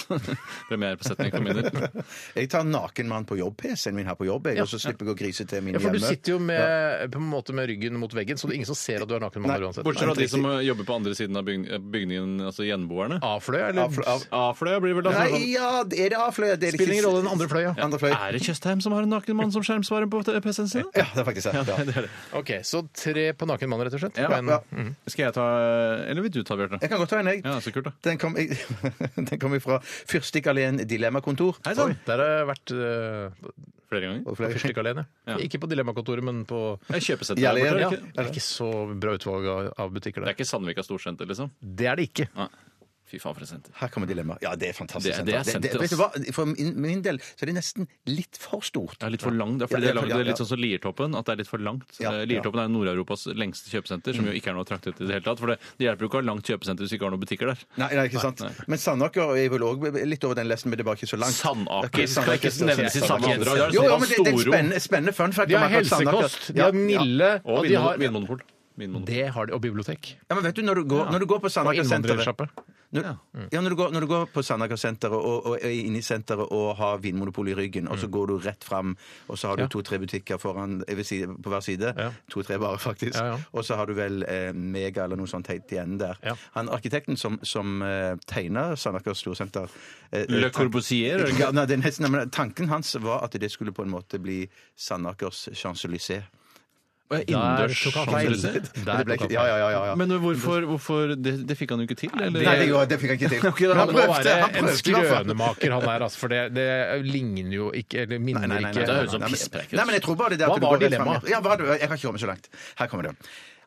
Premiere på setning for min del. Jeg tar naken mann på jobb, PC-en min her på jobb, jeg, og så slipper jeg å grise til min Ja, for du hjemme. sitter jo med, på en måte med ryggen mot veggen, så det er ingen som ser at du er naken mann Nei, uansett. Bortsett fra de som eh, jobber på andre siden av byg- eh, bygningen, altså gjenboerne. Avfløya, Ja, eller? for- av- A-fløya blir vel da Ah. sånn- Nei, ja, er det avfløya? Det er det sånn- Spiller ingen ikke- rolle den andre fløya. Andre fløy. Er det Tjøstheim som har en naken mann som skjermsvarer på PC-en sin? Ja, det er faktisk det. Ja. det er det. Ok, så tre på naken mann, rett og slett. Ja, På en- ja. Mm. Skal jeg ta Eller vil du ta, Bjarte? Jeg kan godt ta en, jeg. Ja, så kult, da. Den kom, i- den kom fra Fyrstikkalleen Dilemmakontor. Hei sånn. Oi, sann! der har jeg vært eh, Flere ganger. på Og flere- fyrstikkalene. Ja. Ikke på Dilemmakontoret, men på Jeg kjøper senter Ja, der borte. ja. er det Det ikke? er ikke så bra utvalg av- av butikker Det er der. ikke Sandvika storsenter, liksom? Det er det ikke. Nei. Fy faen, for et senter. Her kommer dilemmaet. Ja, det er fantastisk. Det er- det er senter. senter, vet du hva? For min, min del så er det nesten litt for stort. Det er litt for langt. Det er, Ja, fordi det det er, er laget- det for- ja, er litt ja. sånn som Liertoppen, at det er litt for langt. Ja, Mm. Eh, Liertoppen er Nord-Europas lengste kjøpesenter, som jo ikke er noe attraktivt i det hele tatt. For det, det hjelper jo ikke å ha langt kjøpesenter hvis du ikke har noen butikker der. Nei, nei, ikke sant. Men Sandaker er vel òg litt over den lesten, men det er bare ikke så langt. Sandaker skal ikke nevnes i samme Sandaker. åndedrag. Det er Jo, jo, sånn men det, det er en Storo. spennende, spennende fun fact. De har om akkurat Sandaker. helsekost, de har Nille Og og de Vinmonopol. har Vinmonopol. Vinmonopol. Det har de, og bibliotek. Ja, men vet du, når du går, når du går på Sandaker senteret Innvandrersjappe. når, ja, når, du går, når du går på Sandaker senteret og, og er inne i senteret og har Vinmonopolet i ryggen, og så Mm. går du rett fram, og så har du to-tre butikker foran, jeg vil si, på hver side. Ja. To-tre bare, faktisk. Ja, ja. Og så har du vel eh, Mega eller noe sånt teit igjen der. Ja. Han arkitekten som, som eh, tegna Sandaker storsenter eh, Le tank- Corbusier, er det ikke? Ja, nei, det er nesten, nei, men tanken hans var at det skulle på en måte bli Sandakers Champs-Élysées. Innendørs tok han feil. sjanser. Der Men det ble tok han ikke- Ja, ja, ja, ja, ja. Men hvorfor, hvorfor det, det fikk han jo ikke til? Eller? Nei, det, gjorde- det fikk han ikke til. Men han må han være en prøvde, han prøvde i hvert fall. skrønemaker, han der, altså, for det, det ligner jo ikke Eller minner ikke det høres ut som pisspreik ut. Nei, men jeg tror bare det at sånn Hva du var går rett dilemmaet? frem. Ja, hva, er det- jeg har ikke kommet så langt. Her kommer det.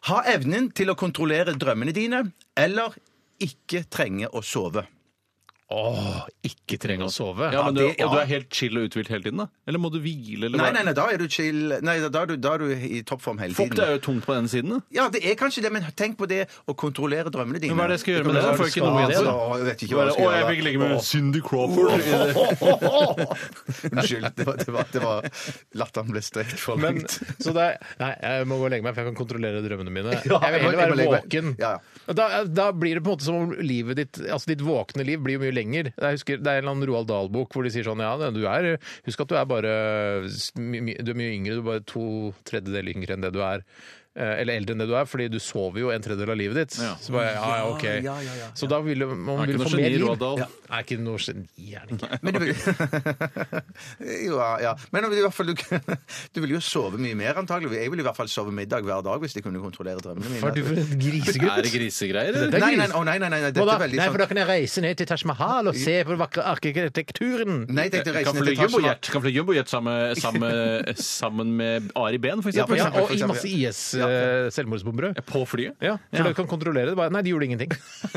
Ha evnen til å kontrollere drømmene dine, eller ikke trenge å sove. Åh, ikke trenge å sove. Ja, men du, det- ja. Og du er helt chill og uthvilt hele tiden, da? Eller må du hvile? Eller Nei, hva? nei, nei, da er du chill. Nei, da er du, da er du i toppform hele Fuck, det er tiden. jo tungt på den siden, da. Ja, det er kanskje det, men tenk på det å kontrollere drømmene dine. Men hva er det jeg skal gjøre med det? Da Hva får jeg ikke noe skal- igjen for det. Å, Jeg vet ikke hva Bare, jeg skal å, jeg gjøre. fikk ligge med Cindy Crawford. Unnskyld. Det var, det var, det var Latteren ble strekt for Men, langt. så det er, nei, jeg må gå og legge meg, for jeg kan kontrollere drømmene mine. Ja, jeg vil jeg heller må- jeg må være legge meg. våken. Ja, Da, da blir det på en måte som om livet ditt Altså ditt våkne liv blir jo mye lenger. Jeg husker, det er en eller annen Roald Dahl-bok hvor de sier sånn Ja, du er, husk at du er bare s- my, my, Du er mye yngre, du er bare to tredjedeler yngre enn det du er. Eh, Eller eldre enn det du er, fordi du sover jo en tredjedel av livet ditt. Ja. Så bare, ja, ja, ok. Ja, ja, ja, ja. Så da vil jo- man Er ikke vil noe få mer geni, liv. Roald Dahl. Ja. Er ikke noe geni, er han ikke. Men du vil jo, ja. Men i hvert fall, du, du vil jo sove mye mer, antagelig. Jeg ville i hvert fall sove middag hver dag hvis jeg kunne kontrollere drømmene mine. Hva er du for en grisegutt? Er det grisegreier? eller? Det er Nei, gris. nei, å, nei, nei, nei, nei, Hva dette da? er veldig Nei, for da sånn kan jeg reise ned til Taj Mahal og se på den vakre arkitekturen. Nei, jeg tenkte å Eh, reise Kan ned fly til Taj Mahal. jumbojet kan fly jumbojet sammen, sammen, sammen med Ari Behn, for Ja, eksempel. ja, for og i eksempel, masse IS-selvmordsbombere. På flyet? Ja, for du kan kontrollere det. Bare, nei, de gjorde ingenting.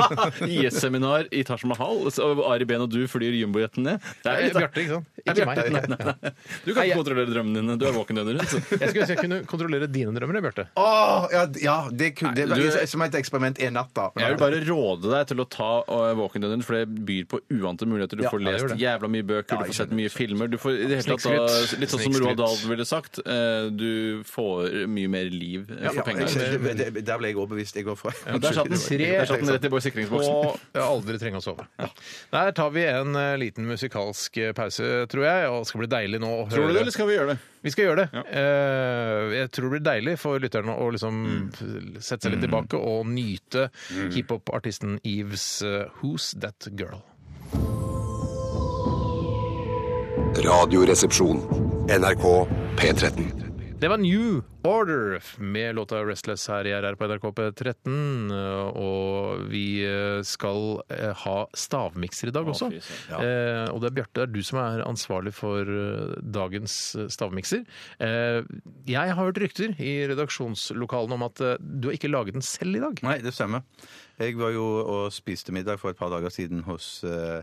IS-seminar i Taj Mahal, og Ari Behn og du flyr jumbojeten ned. Det er Eh, litt artig. Bjarte, ikke sant? Ikke meg. Nei, nei, nei. Du kan Nei, jeg- ikke kontrollere drømmene dine. Du er våken døgnet rundt. Jeg skulle ønske jeg kunne kontrollere dine drømmer, Bjarte. Åh, ja, ja, det kunne det, Nei, du- var- Som et eksperiment en natt, da. Jeg vil bare råde deg til å ta eh, våken døgnet, for det byr på uante muligheter. Du Ja, får ja, det gjør lest det. jævla mye bøker, Ja, du jeg får sett mye filmer. Du får, i det hele tatt, Snikskryt. da, litt sånn som Snikskryt. Roald Dahl ville sagt, eh, du får mye mer liv eh, for penger. jeg- det- det- Der ble jeg overbevist. Jeg går fra. Men Der satt den Tre- Der satt den rett i bo- sikringsboksen. Og aldri trenge å sove. Der tar vi en eh, liten musikalsk eh, pause, tror jeg. Og det skal bli deilig nå å høre Tror du det, eller skal vi gjøre det? Vi skal gjøre det. Eh, jeg tror det blir deilig for lytterne å liksom Mm. f- sette seg litt tilbake og nyte hiphop-artisten Eves eh, Who's That Girl. Radioresepsjon. NRK P13. Det var New Order med låta 'Restless' her i RR på NRK P13. Eh, Og vi eh, skal eh, ha stavmikser i dag også. fy søren. Eh, Og det er Bjarte, det er du som er ansvarlig for eh, dagens eh, stavmikser. Eh, Jeg har hørt rykter i redaksjonslokalene om at eh, du har ikke laget den selv i dag. Nei, det stemmer. Jeg var jo og spiste middag for et par dager siden hos eh,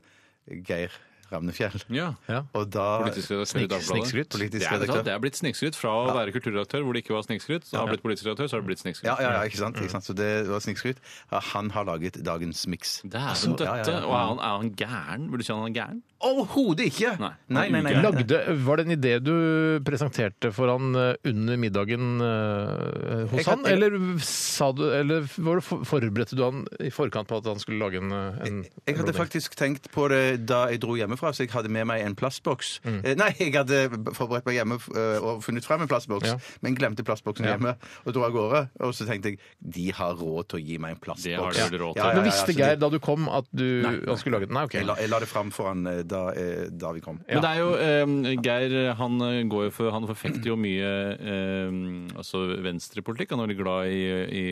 Geir Ramnefjell. Ja. Og da Politisk redaktør i Snik- Dagbladet. snikskryt. Det Politisk er, det, redaktør. sant, det er blitt snikskryt fra å være kulturredaktør hvor det ikke var snikskryt. Så har det blitt politisk redaktør, så har det blitt snikskryt. Ja, ja, ja, ikke sant? Ikke sant? Så det var snikskryt. Ja, han har laget dagens miks. Dæven døtte. Ja, ja, ja. Og er han, er han gæren? Burde du si han er gæren? Overhodet ikke! Nei. Nei, nei, nei, nei. Lagde, var det en idé du presenterte for han eh, under middagen eh, hos Jeg kan- han, eller, sa du, eller var det for, forberedte du han i forkant på at han skulle lage en, eh, en Jeg hadde rolig? faktisk tenkt på det da jeg dro hjemmefra, så jeg hadde med meg en plastboks. Eh, Nei, jeg hadde forberedt meg hjemme eh, og funnet frem en plastboks, Ja. men glemte plastboksen hjemme og dro av gårde. Og så tenkte jeg de har råd til å gi meg en Det har plastboks. de vel råd til. Ja, ja, ja, ja, Men visste så Geir de- da du kom at du, han skulle lage den? Nei, ok. Jeg la, jeg la det fram for han eh, da, eh, da vi kom. Men det er jo eh, Geir han eh, går jo for Han forfekter jo mye eh, altså venstrepolitikk. Han er veldig glad i, i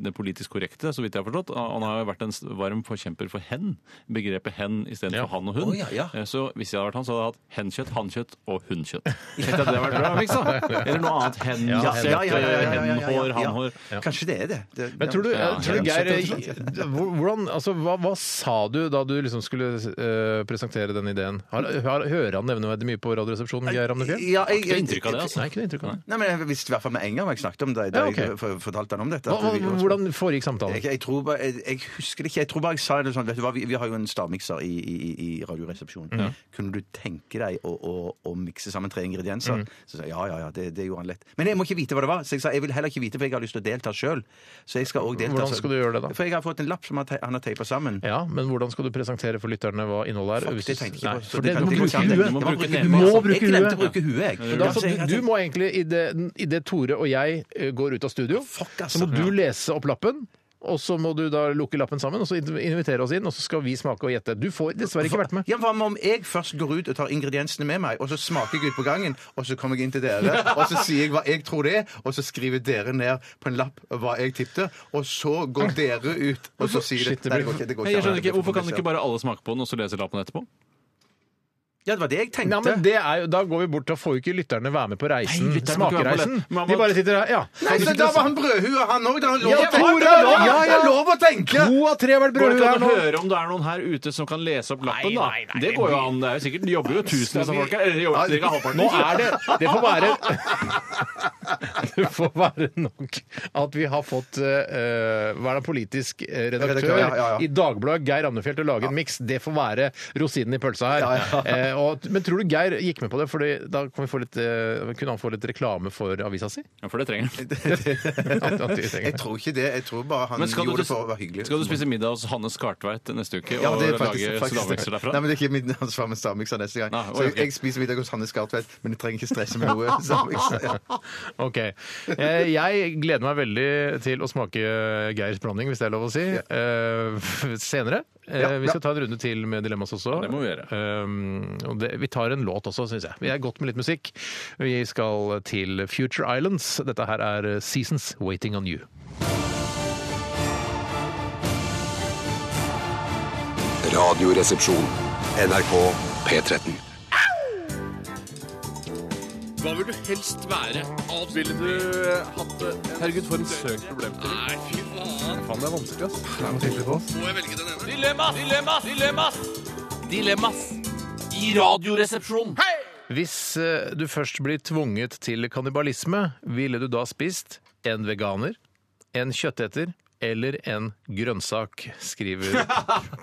det politisk korrekte, så vidt jeg har forstått. Han har jo vært en varm forkjemper for hen. Begrepet hen istedenfor Ja. for han og hun. Å, ja, ja. Eh, Så hvis jeg hadde vært han, så hadde jeg hatt henkjøtt, hankjøtt og hunnkjøtt. Tenkte jeg at det hadde vært bra, ikke sant? Eller noe annet henbasert. Ja, ja, ja, ja, ja, ja, ja, ja. Henhår, hannhår. Kanskje det er det. det Men tror du, Ja, tror du ja. Geir eh, hvor- hvordan, altså, hva, hva sa du da du liksom skulle eh, presentere den ideen? Har, har, hører han nevneverdig mye på Radioresepsjonen, Geir Ramnefjell? ja, jeg, Ikke inntrykk av det, altså. Nei, ikke det inntrykk av det. Nei, men Jeg visste i hvert fall med en gang hva jeg snakket om da jeg, da Ja, ok. jeg for- fortalte han om dette. Hva, at vi- hva, hvordan foregikk samtalen? Jeg, jeg, tror bare, jeg, jeg husker det ikke. Jeg tror bare jeg sa det sånn vet du hva, vi, vi har jo en stavmikser i, i, i- i Radioresepsjonen. Kunne du tenke deg å, å, å mikse sammen tre Mm. ingredienser? Så sa jeg ja, ja, ja, det, det gjorde han lett. Men jeg må ikke vite hva det var. Så jeg sa jeg vil heller ikke vite, for jeg har lyst til å delta sjøl. Så jeg skal også delta. Hvordan selv. skal du gjøre det, da? For jeg har fått en lapp som han te- han har teipa sammen. Ja, men hvordan skal du presentere for lytterne hva innholdet er? Fuck, Hvis det du- tenkte jeg ikke Nei, på. Så for det det, kan- du det må kan bruke ikke huet! jeg- Du må bruke neven. Du Jeg bruke huet. må bruke Jeg glemte å huet. bruke huet, jeg. Men da, Ja, så jeg så hadde- du må egentlig, idet i det Tore og jeg eh, går ut av studio, Fuck, altså. så må du lese opp lappen. Og så må du da lukke lappen sammen og så invitere oss inn, og så skal vi smake og gjette. Du får dessverre ikke vært med. Ja, Hva med om jeg først går ut og tar ingrediensene med meg, og så smaker jeg ut på gangen, og så kommer jeg inn til dere, og så sier jeg hva jeg tror det er, og så skriver dere ned på en lapp hva jeg tippte, og så går dere ut, og så sier Shit, det dere Nei, blir- det går ikke. Det går Jeg skjønner ikke, Hvorfor kan det ikke bare alle smake på den, og så lese lappen etterpå? Ja, det var det jeg tenkte. Ja, men det er jo, Da går vi bort. Da får jo ikke lytterne være med på reisen. Nei, lytterne må ikke være med på Smakereisen. det. Man må- De bare sitter her. ja. Nei, så da var han brødhue, han òg. Det er lov Ja, å tenke. Tore, Det er lov- ja, ja. det er lov å tenke! To av tre har vært Går det ikke brødhue her an å nå. høre om det er noen her ute som kan lese opp lappen, da? Nei, nei, nei, det går jo an. Det er jo sikkert, det jobber jo tusenvis av folk her. Eller jobber cirka halvparten. Nå er det Det får være Det får være nok at vi har fått eh, Hva er det, politisk eh, redaktør Redaktør, ja, ja, ja. i Dagbladet, Geir Andefjell, til å lage en miks. Det får være rosinen i pølsa her. Eh, og, men tror du Geir gikk med på det? Fordi da kan vi få litt, eh, kunne han få litt reklame for avisa si? Ja, for det trenger den. At- at vi Jeg trenger det. tror ikke det. Jeg tror bare han Men skal du, gjorde det for å være hyggelig. skal du spise middag hos Hanne Skartveit neste uke Ja, og men det er faktisk, lage faktisk stavmikser derfra? Nei, men det er ikke mitt ansvar med stavmikser neste gang. Nei, så jeg, ok. jeg spiser middag hos Hanne Skartvedt, men jeg trenger ikke stresse med noe. stavmikser. Ja. Ok. Eh, jeg gleder meg veldig til å smake Geirs blanding, hvis det er lov å si, eh, senere. Eh, Ja, vi ja. skal ta en runde til med Dilemmas også. Det må vi gjøre. Um, og det, vi tar en låt også, syns jeg. Vi er godt med litt musikk. Vi skal til Future Islands. Dette her er Seasons Waiting on You. Radioresepsjon. NRK P13. Hva vil du helst være? Ville du hatt det? Herregud, for en søk problemstilling. Nei, fy faen. Faen, det er vanskelig, ass. Må jeg velge den ene? Dilemmas! Dilemmas! Dilemmas! Dilemmas! I radioresepsjonen. Hei! Hvis eh, du først blir tvunget til kannibalisme, ville du da spist en veganer, en kjøtteter eller en grønnsak, skriver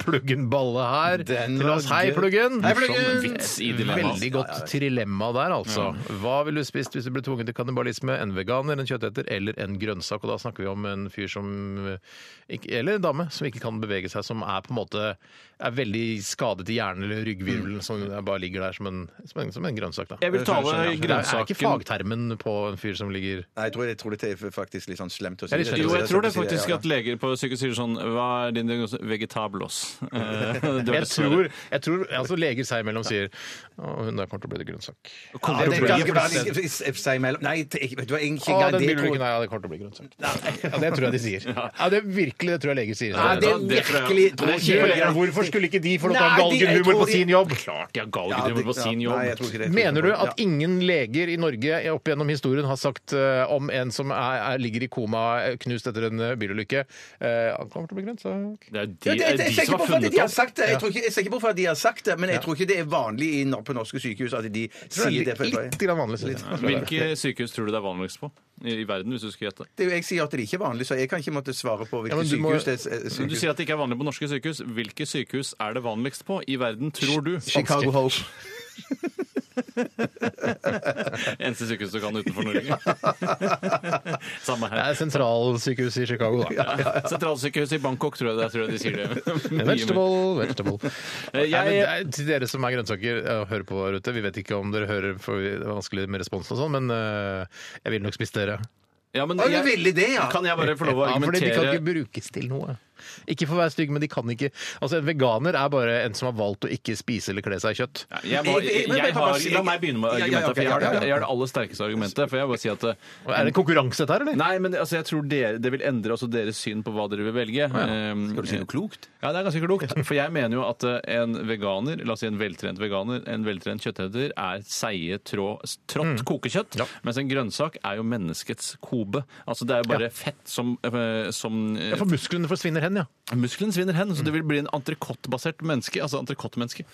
Pluggen Balle her. Den til var oss. Hei, gøy. Pluggen! Hei, Pluggen! Morsom Vits i dilemma. Veldig godt trilemma der, altså. Hva ville du spist hvis du ble tvunget til kannibalisme? En veganer, en kjøtteter eller en grønnsak? Og da snakker vi om en fyr som eh, ikke- Eller en dame som ikke kan bevege seg, som er på en måte er veldig skadet i hjernen eller ryggvirvelen, som bare ligger der som en, som en, som en grønnsak, da. Mm. Jeg vil ta med Det er ikke grønnsaken fagtermen på en fyr som ligger Nei, jeg tror, jeg tror det er faktisk litt sånn slemt å si Det er litt slemt. jo, jeg tror det er Slemt å si faktisk ja. at leger på sykehus sier sånn Hva er din diagnose? Vegetablos. Eh, det er jeg tror, jeg tror altså Leger seg imellom sier Å, hun der kommer til å bli til grønnsak. Ja, det er ganske vanskelig å si imellom. Nei, jeg- vet du hva, jeg er ikke Å, engang den det bilen, tror jeg- nei, ja, det kommer til å bli grønnsak. Ja, det tror jeg de sier. Ja, det er virkelig det tror jeg leger sier. Nei, det er Det tror jeg- virkelig Det er tror jeg- Hvorfor- Hvorfor skulle ikke de få lov til å ha Nei, de- jeg galgenhumor tror på de- sin jobb? Klart de har Ja, galgenhumor på det- sin ja, jobb. nei, jeg tror ikke det. Jeg tror Mener ikke du det. at ingen leger i Norge opp gjennom historien har sagt eh, om en som er, er, ligger i koma eh, knust etter en eh, bilulykke eh, Han kommer til å bli grønnsak. Det er jo de, det Ja, det- jeg- er jeg er de som sikker på har at funnet de har opp. sagt det. Jeg tror ikke- jeg er sikker på at de har sagt det, men jeg tror ikke det er vanlig i, nor- på norske sykehus at de sier det. Litt, for- litt grann vanlig. synes jeg. Hvilke sykehus tror du det er vanligst på i, i verden, hvis du skulle gjette? Det er jo, jeg sier at det ikke er vanlig, så jeg kan ikke måtte svare på hvilke Ja, men du må- sykehus det er. er- Men Du Sykehus. sier at det ikke er vanlig på norske sykehus. Hvilke sykehus er det vanligst på i verden, tror du? Chicago Hope. Eneste sykehus du kan utenfor Norge. Samme Det her. er sentralsykehuset i Chicago, da. Sentralsykehuset i Bangkok, tror jeg det er. Tror jeg de sier det. Mye mer. Vegetable, vegetable. Eh, jeg- Nei, men, det er- til dere som er grønnsaker og hører på der ute, vi vet ikke om dere hører for det er vanskelig med responsen og sånn, men eh, jeg vil nok spise dere. Ja, men Å, du ville det, ja. Kan jeg bare få lov å Ja, fordi de kan argumentere ikke brukes til noe. Ikke for å være stygg, men de kan ikke Altså, en veganer er bare en som har valgt å ikke spise eller kle seg i kjøtt. Ja, jeg må, Jeg- jeg- jeg, men- men- har, la meg begynne med Ja, ja, argumentet. ok, For jeg har, ja, ja, ja. det- jeg har det aller sterkeste argumentet. For jeg bare sier at eh, Og Er det en konkurranse dette her, eller? Nei, men det- altså, jeg tror dere, det vil endre også deres syn på hva dere vil velge. Skal du si noe klokt? Ja, det er ganske klokt. For jeg mener jo at eh, en veganer, la oss si en veltrent veganer, en veltrent kjøtteter, er seige, trå, trått kokekjøtt. Mens en grønnsak er jo menneskets kobe. Altså det er jo bare fett som, eh, som eh, Ja, for musklene forsvinner hen, ja. Muskelen svinner hen, så det vil bli en entrecôte-basert menneske. Altså entrecôte-menneske.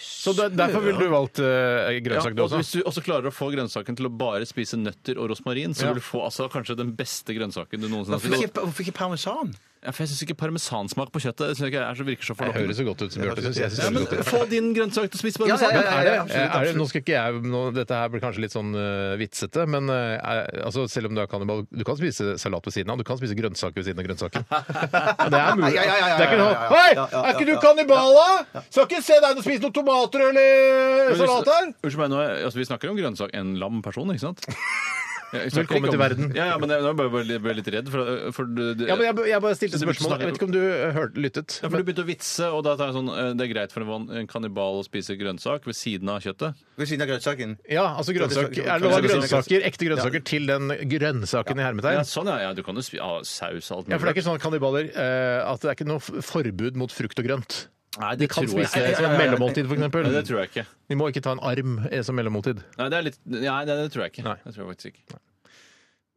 Så der, derfor ville du valgt eh, grønnsak, du og også? hvis du også klarer å få grønnsaken til å bare spise nøtter og rosmarin, så Ja. vil du få altså, kanskje den beste grønnsaken du noensinne Hvorfor har spist. ikke- Hvorfor ikke parmesan? Ja, for jeg syns ikke parmesansmak på kjøttet det synes jeg ikke er så virker så Det høres forlokkende. så godt ut som Bjarte syns. Jeg synes Ja, det høres men godt ut. få din grønnsak til å spise Ja, ja, parmesan! ja, ja, Er det, ja, absolutt, Eh, er det, nå absolutt. skal ikke jeg, nå, dette her blir kanskje litt sånn eh, vitsete, men eh, er, altså, selv om du er kannibal, du kan spise salat ved siden av, du kan spise grønnsaker ved siden av grønnsaker. Ja, det er mulig. Ja, ja, ja, ja, det er ikke ja, noe ja, ja. Hei, Ja, ja, er ikke du ja, ja. kannibal, da? Skal ikke se deg og spise noen tomater eller eh, Men hvis- salat her? Unnskyld meg, nå, er- altså, vi snakker om grønnsak en lam person, ikke sant? Jeg snakker Velkommen ikke om- til verden. Ja, ja, men jeg, nå ble jeg bare litt- ble litt redd, for, for du, du, Ja, men jeg, jeg bare stilte Du burde spørsmål. snakke- Jeg vet ikke om du eh, hørte, lyttet. ja, for du begynte å vitse, og da tar jeg sånn eh, Det er greit for en van- en kannibal å spise grønnsak ved siden av kjøttet. Ved siden av grønnsaken? Ja, altså grønnsaker, er det lov å ha grønnsaker, ekte grønnsaker til den grønnsaken i hermetegn? Ja, sånn, ja. ja du kan jo spi- ja, saus og alt Ja, for det er ikke sånn at kannibaler eh, at det er ikke noe f- forbud mot frukt og grønt. Nei, De kan spise det som et mellommåltid, Nei, det f.eks. tror jeg ikke. De må ikke ta en arm eh, som mellommåltid. Nei, det, er litt, nei, det, det tror jeg ikke. Nei. Det tror jeg faktisk ikke.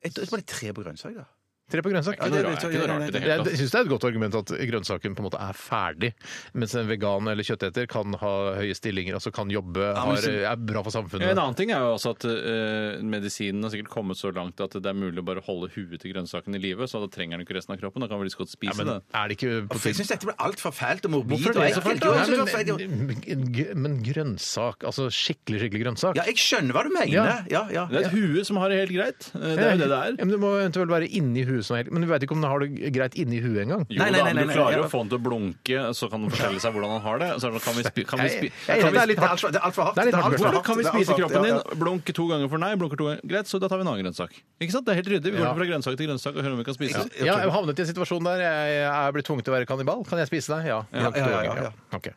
Jeg tror bare tre på grønnsak, da. Tre på grønnsak. Det er ikke noe rart- det er ikke noe rart i det hele Jeg tatt. syns det er et godt argument at grønnsaken på en måte er ferdig, mens en vegan eller kjøtteter kan ha høye stillinger, altså kan jobbe, men har, så- er bra for En samfunnet. annen ting er jo også at eh, medisinen har sikkert kommet så langt at det er mulig å bare holde huet til grønnsaken i live, så da trenger den ikke resten av kroppen. Da kan vi liksom godt Ja, spise men det. er det ikke på Altså, Jeg syns dette ble altfor fælt og morbid. Hvorfor er det og så fælt, ekkelt. da? Jo, jeg synes det var Nei, fælt, jo. men, g- men grønnsak, altså skikkelig, skikkelig grønnsak Ja, jeg skjønner hva du mener. Ja, ja. Det er et hue som har det helt greit. Eh, Det er jo det det Ja, er. men det må eventuelt være inni huet som er helt Men du veit ikke om den har det greit inni huet engang. Jo Nei, nei, da, nei, nei, du nei, klarer ja. jo å få den til å blunke, så kan den fortelle seg hvordan han har det. Så kan vi spi, kan vi spi, kan Jeg- jeg- det vi er litt Det er altfor alt for hardt. Det er litt Det er hardt. alt for Hvordan hardt. kan vi Det er alt spise for hardt, kroppen din? ja, ja. Blunk to ganger for nei, blunker to ganger. Greit, så da tar vi en annen grønnsak. Ikke sant? Det er helt ryddig. Vi går Ja. fra grønnsak til grønnsak og hører om vi kan spise. Ja, jeg har havnet i en situasjon der jeg er blitt tvunget til å være kannibal. Kan jeg spise deg? Ja. Ja, ja, ja, ja. Ok.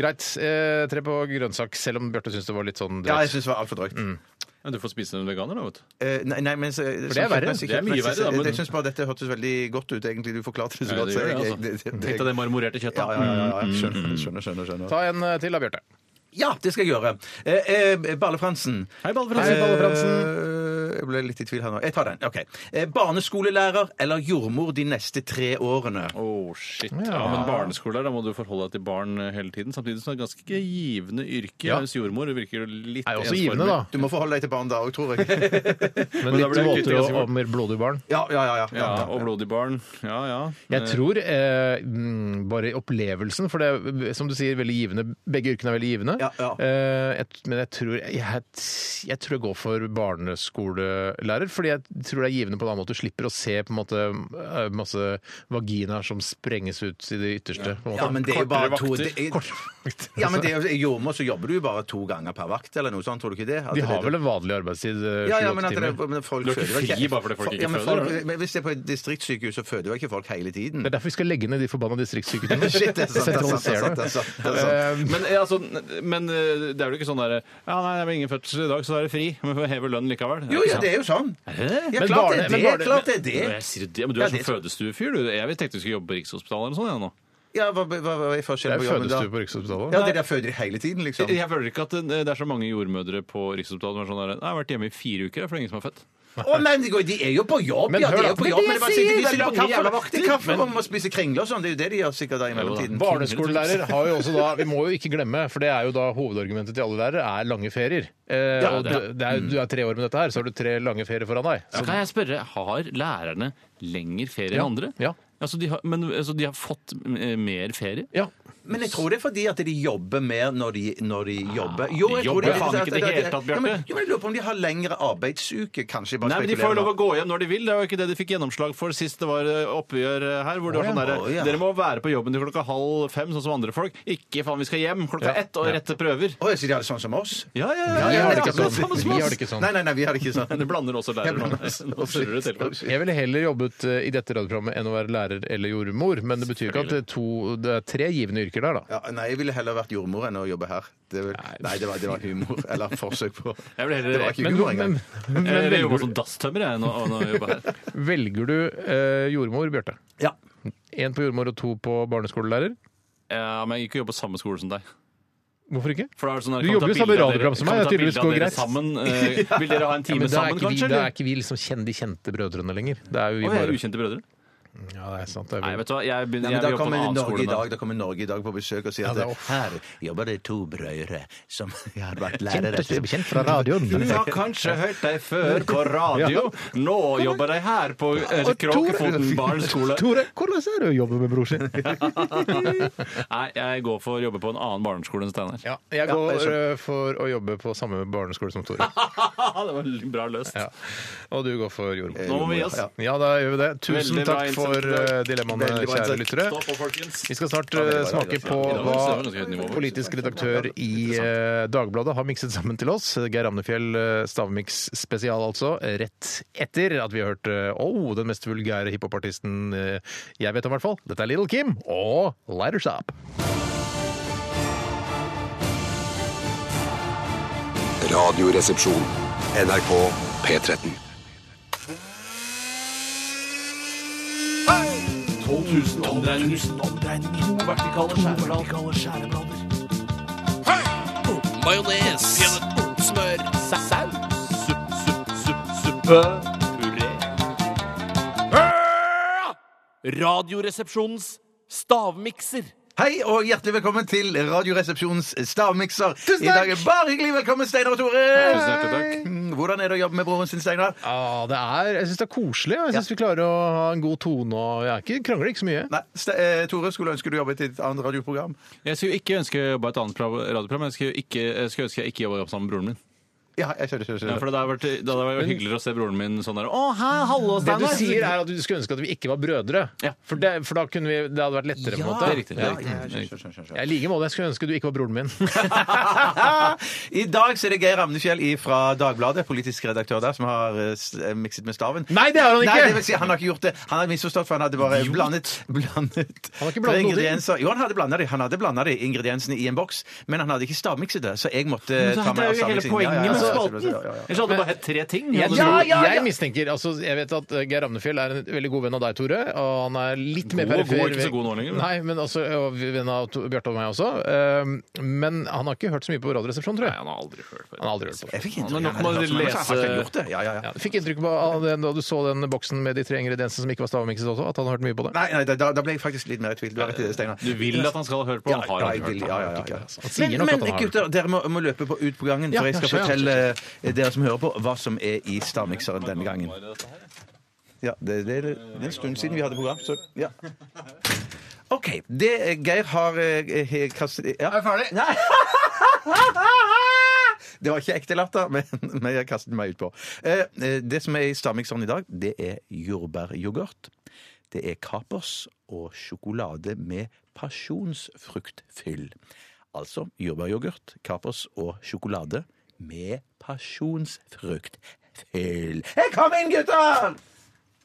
Greit. Eh, tre på grønnsak, selv om Bjarte syns det var litt sånn Ja, jeg drøyt. syns det var altfor drøyt. Men Du får spise en veganer, da, vet du. Eh, Nei, nei, men så- sånn det er verre. kjøttmessig- Det er mye kjøttmessig- verre, da, men- Jeg syns bare dette hørtes veldig godt ut, egentlig. Du forklarte det Mm. så Ja, godt. det så gjør det, jeg- jeg- det- altså. det- Litt av det marmorerte kjøttet. Ja, ja, ja, ja, ja. Skjønner, skjønner, skjønner, skjønner. Ta en eh, til da, Bjarte. Ja, det skal jeg gjøre. Eh, eh, Balle Fransen. Hei, Balle Hei, Balle Fransen. Eh, Jeg jeg ble litt i tvil her nå. Jeg tar den. OK. Eh, Barneskolelærer eller jordmor de neste tre årene? Oh, shit. Ja. men barneskoler, da må du forholde deg til barn eh, hele tiden. Samtidig som det er et ganske givende yrke. Ja. Mens jordmor virker litt Er jo også ensformig. givende, da. Du må forholde deg til barn da òg, tror jeg. Men Men, da blir det litt våtere kutt i og, og mer blodig barn. ja, ja, ja. ja, Ja, og blodig barn. Ja, ja. Jeg tror eh, mm, bare opplevelsen, for det er som du sier, veldig givende. Begge yrkene er veldig givende. Ja, ja. Eh, jeg, men jeg tror jeg, jeg, tror jeg går for barneskolelærer, fordi jeg tror det er givende på en annen måte. Du slipper å se på en måte eh, masse vaginaer som sprenges ut i det ytterste. På en måte. Ja, men det er jo bare to det er, Kort- Ja, men det er jo i jordmor så jobber du jo bare to ganger per vakt, eller noe sånt, tror du ikke det? At De har det- vel en vanlig arbeidstid, eh, ja, ja, men sju-åtte at det, timer. men folk Du er ikke føder vel fri bare fordi folk ikke ja, men føder, folk- Men hvis det er på et distriktssykehus, så føder jo ikke folk hele tiden. Det er derfor vi skal legge ned de forbanna distriktssykehusene. Shit, det er sant, det er sant, det er sant, det er sant, det er sant. Eh, Men, eh, altså, men eh, det er jo ikke sånn derre Ja, nei, det er ingen fødsel i dag, så da er det fri. Men vi får heve lønn likevel. Jo, ja, det er jo sånn. Ja, Men klart det barne- er men det. barne- Klart det er Når det. jeg sier det, men du Ja, er sånn det er sant. fødestuefyr, du. Jeg tenkte du skulle jobbe på Rikshospitalet eller noe sånt. Jeg, nå. Ja, hva, hva, hva er Det forskjellen er på jo jobben da? fødestue på Rikshospitalet. Ja, det der føder de hele tiden, liksom. Jeg- jeg føler ikke at det det er så mange jordmødre på Rikshospitalet som er sånn der «Nei, Jeg har vært hjemme i fire uker, for det er ingen som har født. Å, men de går- de er jo på jobb! Men ja, de hør er da. jo på Men jobb, det men det var sier sikkert de jeg, sitter på det er jævla kaffe, vakter. til kaffe og spiser kringle og sånn. Det er jo det de gjør sikkert da i mellomtiden. Barneskolelærer har jo også da Vi må jo ikke glemme, for det er jo da hovedargumentet til alle lærere, er lange ferier. Eh, og det er- du, det er, du er tre år med dette her, så har du tre lange ferier foran deg. Så kan jeg spørre, har lærerne lengre ferie Ja, enn andre? ja. Altså, de har, men altså, de har fått eh, mer ferie? Ja. Men jeg tror det er fordi at de jobber mer når de, når de jobber. Jo, jeg Ah, de tror det er jobber faen ikke i det at- hele tatt, Bjarte. Ja, men- Jo, men jeg lurer på om de har lengre arbeidsuke, kanskje. Bare Nei, men De får jo spekulerer lov å nå. gå hjem når de vil. Det er jo ikke det de fikk gjennomslag for sist det var eh, oppgjør eh, her. hvor det var Å, sånn ja. der, Å, ja. Dere må være på jobben til klokka halv fem, sånn som andre folk. Ikke faen, vi skal hjem klokka Ja. ett og rette prøver. Å, jeg sier de har det sånn som oss? Ja, ja, ja. Vi ja, har ja, det ikke akkurat samme sånn. som Vi oss. har det ikke sånn. Nei, nei, nei, vi har det ikke Men sånn. Du blander også Jeg lærere nå. blander også- Nå surrer det til. Å, shit. Jeg ville heller jobbet eh, i dette radioprogrammet enn å være lærer eller jordmor, men det betyr ikke at det er, to, det er tre givende yrker der, da. Ja, nei, jeg ville heller vært jordmor enn å jobbe her. Det vil, nei, det var, det var humor. Eller forsøk på Jeg vil heller- Det var ikke Men, humor men, engang. men Jeg vil jobbe velger, som dasstømmer jeg, nå, nå jobber jeg her. du- velger du eh, jordmor, Bjarte? Ja. Én på jordmor og to på barneskolelærer? Ja, men jeg gikk jo jobbe på samme skole som deg. Hvorfor ikke? For da er det sånn der, Du kan jobber ta jo i samme bilder av radioprogram dere- som kan meg, ta det tydeligvis bilder av går dere greit. Sammen, eh, vil dere ha en Ja, time men da er sammen, ikke vi, kanskje? da eller? er ikke vi liksom kjen- de kjente brødrene lenger. Det er jo vi Å, vi er bare ukjente brødre. Ja, det er sant. Det er Nei, vi. vet du hva, jeg Nei, begynner men jeg da jobber på en kommer, annen Norge i skole nå. dag, da kommer Norge i dag på besøk og sier at Ja, det er- her jobber det to brødre som har vært lærere. Kjent, kjent fra radioen. Du har kanskje hørt deg før på radio. Nå jobber de her på eh, Kråkefoten barneskole. Tore, hvordan er det å jobbe med bror sin? Nei, jeg går for å jobbe på en annen barneskole enn Steinar. Ja, jeg går eh, for å jobbe på samme barneskole som Tore. det var bra løst. Ja. Og du går for jordmor. Nå må vi gi oss. Ja, da gjør vi det. Tusen Veldig bra takk for innsats. eh, dilemmaene, Veldig bra kjære innsats. lyttere. Stå på, folkens. Vi skal snart eh, smake på I dag var det ganske høyt nivå, hva faktisk. politisk redaktør i eh, Dagbladet har mikset sammen til oss. Geir Amnefjell, eh, Stavmiks spesial altså, rett etter at vi har hørt eh, oh, den mest vulgære hiphopartisten eh, jeg vet om, i hvert fall. Dette er Little Kim og Lighters Up. Radioresepsjon. NRK P13. 12 000 omdreininger. To vertikale skjæreblader. Majones. Smør. Saus. Supp, supp, supp, suppe. Puré. Radioresepsjonens stavmikser. Hei og hjertelig velkommen til Radioresepsjonens stavmikser. Tusen takk! I dag er bare hyggelig. Velkommen, Steinar og Tore. Tusen hjertelig takk. Mm, Hvordan er det å jobbe med broren sin, Steinar? Ja, det er, jeg syns det er koselig. og Jeg syns vi klarer å ha en god tone. og Jeg er ikke, krangler ikke så mye. Nei, Ste eh, Tore skulle ønske du jobbet i et annet radioprogram. Jeg skulle ikke ønske å jobbe i et annet pro- radioprogram. men Jeg skulle, ikke, jeg skulle ønske jeg ikke jobba sammen med broren min. Ja, jeg skjønner, skjønner, Ja, skjønner. for det hadde vært, det hadde vært hyggeligere å se broren min sånn der Å, hei, hallo, Det du Steinar. sier, er at du skulle ønske at vi ikke var brødre. Ja. For, det, for da kunne vi, det hadde vært lettere. på en Ja, måte. det er riktig. Det er riktig. Ja, jeg skjønner, skjønner, skjønner. Jeg er i like måte. Jeg skulle ønske du ikke var broren min. I dag så er det Geir Amnefjell fra Dagbladet, politisk redaktør der, som har eh, s- eh, mikset med staven. Nei, det har han ikke! Nei, det vil si, han har ikke gjort det. Han har misforstått, for han hadde bare blandet, blandet har ikke blandet tre noe. ingredienser. Jo, han hadde blanda de. Han hadde blandet de ingrediensene i en boks, men han hadde ikke stavmikset det, så jeg måtte Men ta det med er jo hele stavmiksingen. poenget med Så spalten! ja, ja, ja. Ellers hadde det bare hett tre ting. Jeg, Hadde tror, du- jeg mistenker altså, Jeg vet at eh, Geir Amnefjell er en veldig god venn av deg, Tore. Og han er litt mer God, perifer. god, ikke så god nå lenger, men- Nei, men altså, og venn av To- Bjarte og meg også. Eh, Men han har ikke hørt så mye på Radioresepsjonen, tror Nei, jeg. han har aldri hørt på Han har aldri hørt på det. Jeg fikk Men inntrykk nok av må det. dere Men altså, jeg har lese- faktisk gjort det. Ja, ja, ja. Ja, du fikk inntrykk av av den, da du så den boksen med de tre ingrediensene som ikke var stavmikset også, at han har hørt mye på det? Nei, nei, da- da, da ble jeg faktisk litt mer i tvil. Du har rett i det, Steinar. Du vil at han skal høre på, Ja, han har ja, aldri jeg vil, hørt på. ja, ja, ja, ja. altså. Han sier Men, nok at men han har hørt gutter, dere må, må løpe på, ut på gangen, Ja, for jeg skal kanskje, ja. fortelle eh, dere som hører på, hva som er i stavmikseren denne gangen. Ja, det, det, det er en stund siden vi hadde program, så ja. OK. Det eh, Geir har eh, he- kastet ja. Er ferdig? Nei. Det var ikke ekte latter, men, men jeg kastet meg utpå. Eh, eh, det som er i stavmikseren i dag, det er jordbæryoghurt. Det er kapers og sjokolade med pasjonsfruktfyll. Altså jordbæryoghurt, kapers og sjokolade med pasjonsfruktfyll. Jeg kom inn, gutter!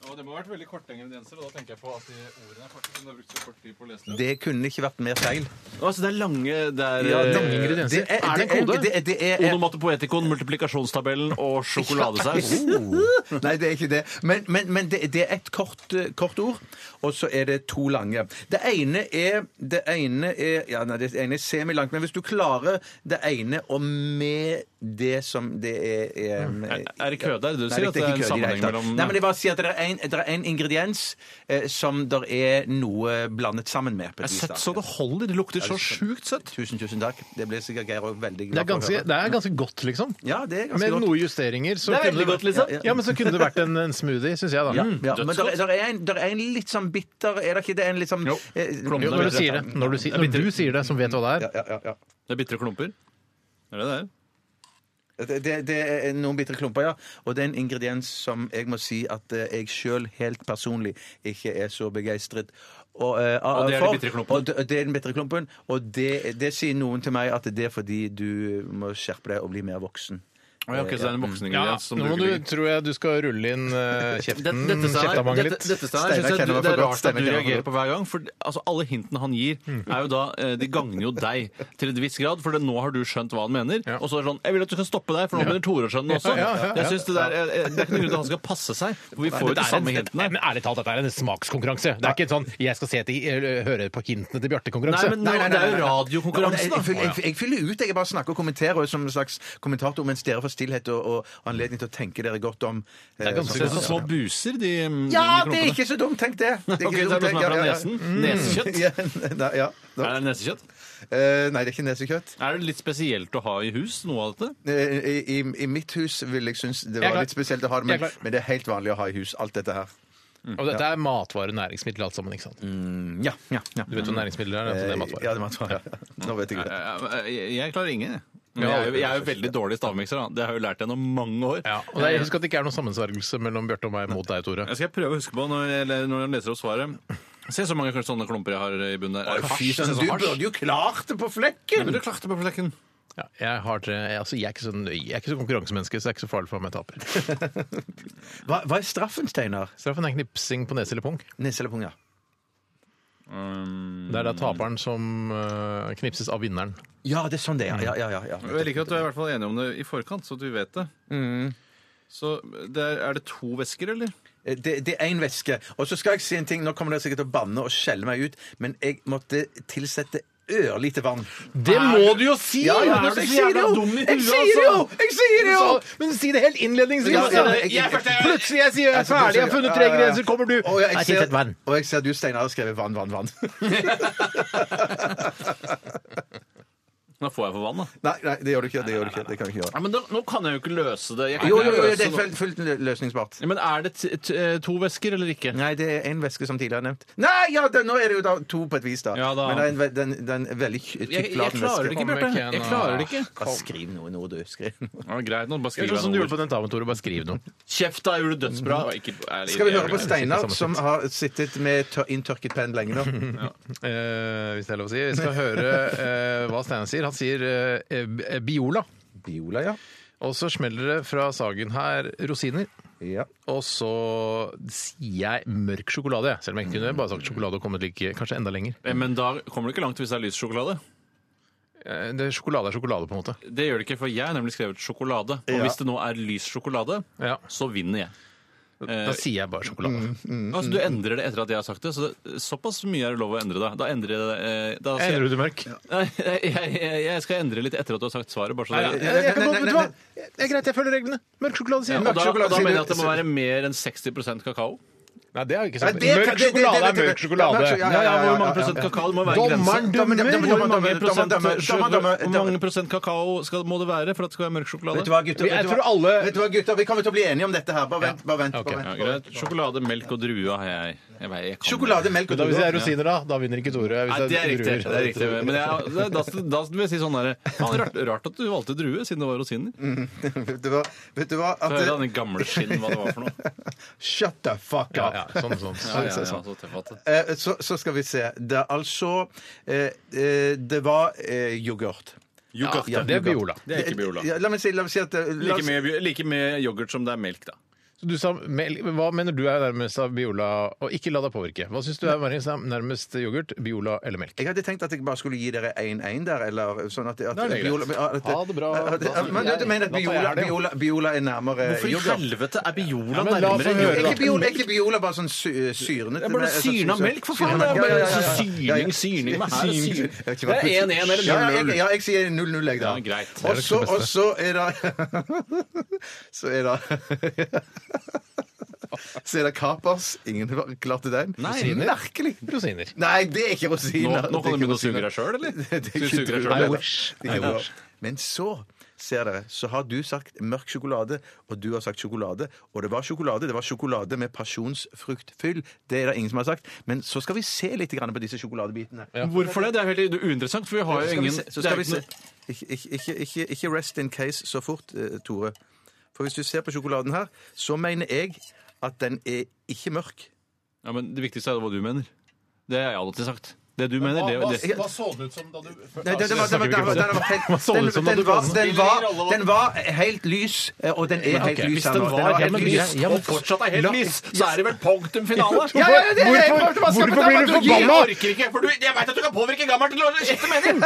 Og det må ha vært veldig korte ingredienser, og da tenker jeg på at de ordene er korte, som du har brukt så kort tid på å lese det. Det kunne ikke vært mer feil. Altså, det er lange det er, lange eh, ingredienser. Det er, det er, det er, det er, Onomatopoetikon, multiplikasjonstabellen og sjokoladesaus. Nei, det er ikke det. Men, men, men det, det er et kort, eh, kort ord, og så er det to lange. Det ene er Det ene er, ja, nei, det ene er semilangt, men hvis du klarer det ene og med det som det er, er Mm. Er- er det kø der? Du Nei, sier at det er en ikke kø i hele sammenheng tatt. mellom- Nei, men jeg bare sier at det er en, det er en ingrediens eh, som det er noe blandet sammen med. på et Det er vis, da. søtt så det holder. Det lukter så sjukt søtt. Tusen, tusen takk. Det ble sikkert Geir òg veldig Det er, glad for å ganske, høre. det er ganske godt, liksom. Ja, det er ganske Med godt. noen justeringer så Det er kunne veldig godt, liksom. Ja, ja. ja, men så kunne det vært en, en smoothie, syns jeg, da. Ja, Mm. ja. dødsgodt. Men der, der, er en, der er en litt sånn bitter Er det ikke det en litt sånn Jo, eh, plommen Jo, er når du bitter. sier det, når du, sier- når du sier det, som vet hva det er. Ja, ja, ja, ja. Det er bitre klumper. Er det det? Det, det, det er noen bitre klumper, ja. Og det er en ingrediens som jeg må si at eh, jeg sjøl helt personlig ikke er så begeistret og, eh, Og det er de for. bitre klumpene. Og det, det er den bitre klumpen. Og det, det sier noen til meg at det er fordi du må skjerpe deg og bli mer voksen. Å, ja, ok, så det er en Ja, vokseningrediens som nå må du du, ikke liker. tror jeg du skal rulle inn eh, kjeften, Dette, Steinar, kjeftamanget dette, litt. dette Steinar, Steinar synes jeg du, kjenner meg det for er godt, rart at Steinar du kjenner meg for reagerer på hver gang. For altså, alle hintene han gir, Mm. er jo da eh, De gagner jo deg til et visst grad, for det- nå har du skjønt hva han mener. Ja. Og så er det sånn Jeg vil at du skal stoppe deg, for nå begynner Tore å skjønne det også. Ja, ja, ja, ja. Jeg synes Det der, eh, eh, det er ikke noen grunn til at han skal passe seg, for vi får jo Det de er en, samme hintene. men ærlig talt, dette er en smakskonkurranse. Det er ikke en sånn 'jeg skal se til, eller høre på hintene til Bjarte'-konkurranse. Nei, men nå- det er jo radiokonkurranse, Jeg, jeg, fyller- da. jeg, jeg fyller ut. Jeg bare snakker og kommenterer og som en slags kommentator mens dere får stillhet og, og anledning til å tenke dere godt om. eh, Det er ganske Det er sånn- så små buser, de, Ja, de det er ikke så dumt! Tenk det! Det er Ok, det er dumt, noe som er ja, fra ja, ja. nesen. Mm. Nesekjøtt. Ja, nei, ja. Da. Er det nesekjøtt? Eh, nei, det er ikke nesekjøtt. Er det litt spesielt å ha i hus, noe av dette? Eh, I, i, I mitt hus ville jeg synes Jeg det er var klar. litt spesielt å ha det, Jeg men, er klar. men det er helt vanlig å ha i hus, alt dette her. Og dette er matvare, næringsmiddel, alt sammen. ikke sant? Du Mm, Ja, ja, ja. vet hva næringsmidler er? Altså, Mm. det er Eh, matvare. ja, det er matvare. ja. Nå vet jeg det. Jeg, Eh, jeg klarer ingen. jeg. Men jeg, er jo- jeg er jo veldig dårlig stavmikser. da. Det har jeg jo lært gjennom mange år. Ja, og det er, Husk at det ikke er noen sammensvergelse mellom Bjarte og meg mot deg, Tore. Jeg skal prøve å huske på når jeg, når jeg leser opp svaret. Se så mange sånne klumper jeg har i bunnen der. Er det hasj? Det Sønn, Du ser sånn hasj. burde jo klart det på Nei, flekken! Men du klarte på flekken. Ja, jeg, har tre, jeg, altså, jeg, er ikke så, nøy- jeg er ikke så konkurransemenneske, så det er ikke så farlig for om jeg taper. Hva, hva er straffen, Steinar? Straffen er knipsing på nese eller pung. Nese eller pung, ja. Det er da taperen som øh, knipses av vinneren. Ja, det er sånn det er. Ja, ja, ja, ja. Jeg Mm. liker at du er i hvert fall enig om det i forkant, så du vet det. Så det er, er det to væsker, eller? Eh, Det, det er én væske. Og så skal jeg si en ting. Nå kommer dere sikkert til å banne og skjelle meg ut, men jeg måtte tilsette ørlite vann. Det må du jo si! Ja, ja, Er men du jeg så sier jævla det jo! dum i Jeg huet, sier det jo! altså? Jeg sier det jo! Så- Men si det helt innledningsvis! Ja, ja, altså. jeg- jeg- Plutselig jeg sier jeg er ferdig, jeg har funnet tre ingredienser, kommer du Og jeg, Nei, ser, tilsett vann. og jeg ser at du, Steinar, har skrevet vann, vann, vann. Da får jeg for vann, da. Nei, nei, det gjør du ikke. Det gjør du ikke. Det kan du ikke gjøre. Ja, men da, nå kan jeg jo ikke løse det. Jeg kan Jo, ikke jo, jo, løse det er noe. fullt- fullt løsningsbart. Ja, Men er det t t to væsker eller ikke? Nei, det er én væske som tidligere nevnt. Nei, ja, det, nå er det jo da to på et vis, da. Ja, da. Men det er en, ve- den, den veldig Jeg, jeg tykkflaten klarer det ikke, Bjarte. væske. Kom igjen, Jeg klarer det ikke. Bare skriv noe nå, du. Skriv noe. Ja, greit, nå bare Gjør skriver sånn som du jeg gjorde noe. på den taven, Tore. Bare skriv noe. Kjeft, da! Gjorde du dødsbra? Skal vi høre på Steinar? Steinar, som har sittet med tør- inntørket penn lenge nå? Eh, hvis det er lov å si. Vi skal høre eh, hva Steinar sier. Han sier eh, eh, Biola. Biola, ja. Og så smeller det fra Sagen her rosiner. ja. Og så sier jeg mørk sjokolade, jeg. selv om jeg ikke kunne bare sagt sjokolade og kommet like, kanskje enda lenger. Men da kommer du ikke langt hvis det er lys sjokolade. Eh, Det er sjokolade er sjokolade, på en måte. Det gjør det ikke, for jeg har nemlig skrevet sjokolade. Og Ja. hvis det nå er lys sjokolade, Ja. så vinner jeg. Eh, Da sier jeg bare sjokolade. Mm. Mm. altså, du endrer det etter at jeg har sagt det, så det, såpass mye er det lov å endre. Da, da endrer jeg det. Eh, da sier Endrer jeg, du mørk? Nei, jeg, jeg, jeg skal endre litt etter at du har sagt svaret. Bare så det, Jeg, jeg kan godt, vet du hva? Det er greit, jeg følger reglene. Mørk sjokolade, sier ja, jeg. og da, og da mener jeg at det må være mer enn 60 kakao. Nei, det er jo ikke Nei, sant. det- Mørk det- det- det- sjokolade det- er mørk sjokolade. Ja, ja, Ja, ja, ja, ja, Hvor ja, mange ja, prosent ja. kakao? Det må være en Dommeren grense. dømmer! Hvor Dommeren dømmer, mange prosent, dommeren dømmer, dommeren dømmer, hvor mange prosent kakao skal, må det være for at det skal være mørk Vet du sjokolade? hva, gutter? Jeg Vet du hva, tror alle- vet du hva, gutter? Vi kommer til å bli enige om dette her. Bare vent. bare vent, Ok, bare Ja, greit. vent. Sjokolade, melk og druer har jeg. jeg, vet- jeg kan- Sjokolade, melk Men og da, hvis det er druer. rosiner, da, da vinner ikke Tore. Hvis Nei, det er riktig. druer. Det er riktig. Men jeg, da, da, da vil jeg si sånn derre faen, rart, rart at du valgte drue, siden det var rosiner. Vet du hva? Vet du hva? Så hører At, eh, han i gamle skinn hva det var for noe. shut the fuck Ja, up! ja, sånn, sånn. Ja, ja, ja, så tøff at det. Eh, Så, så skal vi se. Det er altså eh, eh, Det var eh, yoghurt. Yoghurt, Ja, det er Biola. Det er ikke Biola. Ja, La meg si, la meg si at eh, la Like oss, med, like med yoghurt som det er melk, da. Så du sa, mel- hva mener du er nærmest av Biola? Og ikke la deg påvirke. Hva syns du er Marie, som er nærmest yoghurt, Biola eller melk? jeg hadde tenkt at jeg bare skulle gi dere 1-1 der, eller sånn at, at Da er det greit. Ha det bra. At, Da- men du mener at Da tar jeg Biola, det, jo. Biola, Biola er nærmere Hvorfor i yoghurt? helvete er Biola Ja, men la nærmere få enn høre, Er da. yoghurt? ikke Biola, er ikke Biola bare sånn sy syrnet? Det er bare Nei, sånn syrna syr- melk, for faen! Det er syrnet. Ja, ja, bare ja, ja. syning, syning. Hva er Jeg syning? vet ikke Det hva- er 1-1 eller Ja, ja, 0-0. jeg, ja, jeg sier 0-0, jeg, da. Ja, greit. Og så- Og så er det Så er det Så er det kapers. Ingen klarte den. Nei. Merkelig. Rosiner. Nei, det er ikke Nå, rosiner. nå Det er kan du ikke begynne å rosiner. suge deg sjøl, eller? Det er ikke Du suger deg rosiner. selv, I eller? wish. Det er ikke rosiner. Men så ser dere, så har du sagt mørk sjokolade, og du har sagt sjokolade. Og det var sjokolade. Det var sjokolade med pasjonsfruktfyll. Det er det ingen som har sagt. Men så skal vi se litt grann på disse sjokoladebitene. Hvorfor det? Det er helt uinteressant, for vi har jo Skal vi ingen se- så det er skal vi ikke se. Ikke, ikke, ikke, ikke rest in case så fort, eh, Tore. For hvis du ser på sjokoladen her, så mener jeg at den er ikke mørk. noe- Ja, men Det viktigste er hva du mener. Det har jeg alltid sagt. Det du mener, det, det, så det ut som da du Nei, den- den var- den var- den var- den var helt- Hva så det ut som da den- du den var- bannet? den var- Den var helt lys, eh, og den er helt Ok, lys Hvis den nå. var, helt Den var helt lys, lys. ja, men- og fortsatt er helt lys, så er det vel punktum finale? Ja, ja, det- jeg- jeg- Altså, Hvorfor, jeg- jeg- hvorfor blir du forbanna? Jeg orker ikke, for du, jeg veit at du kan påvirke gammel til å skifte mening!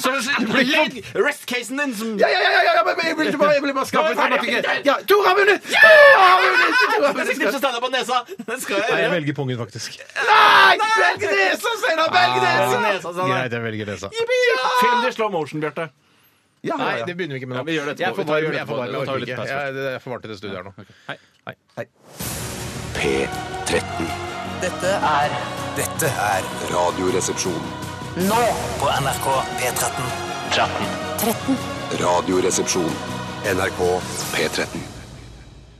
Så det blir litt rest casen din som Ja, ja, ja, ja, ja, men jeg ville bare, jeg ville bare Nå er skape vi ferdig. dramatikken. Ja, Tore har vunnet! Tore har Jeg vunnet! Tore har skal vunnet! knipse Steinar på nesa! Det skal Nei, jeg jeg gjøre. velger pungen, faktisk. Nei! Velg nesa, Steinar! Velg Nesa, nesa! nesa, sånn der. Greit, jeg velger det, sa Film det i slow motion, Bjarte. Ja, Nei, ja, det ja. begynner vi ikke med nå. Ja, vi gjør det etterpå. jeg er for Vi tar- vi varm, gjør det jeg er for varm, etterpå. jeg Vi tar orker litt ikke. pause. Jeg jeg er for varm til det studiet her nå. P13. Dette er Dette er Radioresepsjon. nå på NRK P13. 13. Radioresepsjon. NRK P13.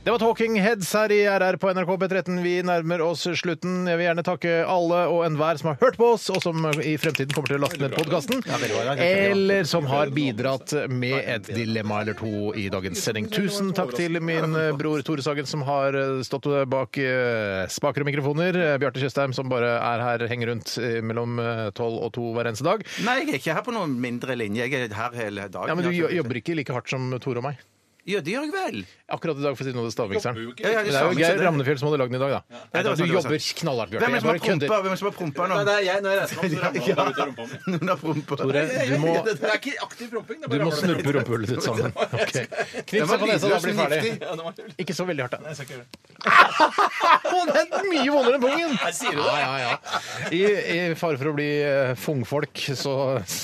Det var Talking Heads her i RR på NRK P13. Vi nærmer oss slutten. Jeg vil gjerne takke alle og enhver som har hørt på oss, og som i fremtiden kommer til å laste ned podkasten. Eller som har bidratt med et dilemma eller to i dagens sending. Tusen takk til min eh, bror Tore Sagen, som har eh, stått bak eh, spaker og mikrofoner. Eh, Bjarte Tjøstheim, som bare er her, henger rundt eh, mellom tolv og to hver eneste dag. Nei, jeg er ikke her på noen mindre linje. Jeg er her hele Ja, dagen. Men du jo- jobber ikke like hardt som Tore og meg. Ja, det gjør jeg vel. Akkurat i dag, for å si noe til stavmikseren. Ja, ja, Det det er jo samme Geir som det. Ramnefjell som hadde lagd den i dag, da. Ja, det var du sant, det var jobber knallhardt, Bjarte. Hvem er Jeg det som bare har prompa? kødder. Hvem er det som har prompa nå? er jeg. Når jeg reiser meg opp, så ramler jeg ut av rumpa mi. Noen har prompa. Tore, du må, Det er ikke aktiv promping. det er du bare ramler må ned. snurpe rumpehullet ditt sammen. Ok. Den Knips deg på nesa, da var lydløs, blir men ferdig. giftig. Ja, det var- Ikke så veldig hardt, da. Jeg skal ikke gjøre det. Å, det er mye vondere enn pungen! sier du det? Ja, ja, ja. I, I fare for å bli eh, fungfolk, så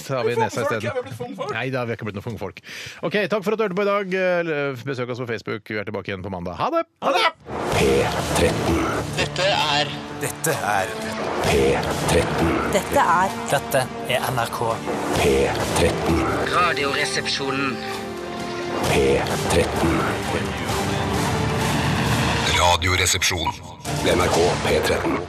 tar vi nesa Fungfolk? Har vi isteden. blitt fungfolk? Nei da, vi har ikke blitt noen fungfolk. OK, takk for at du hørte på i dag. Eh, Besøk oss på Facebook. Vi er tilbake igjen på mandag. Ha det! P13. Dette er Dette er P13. Dette er Dette er NRK. P13. Radioresepsjonen. P13. Radioresepsjon. NRK P13.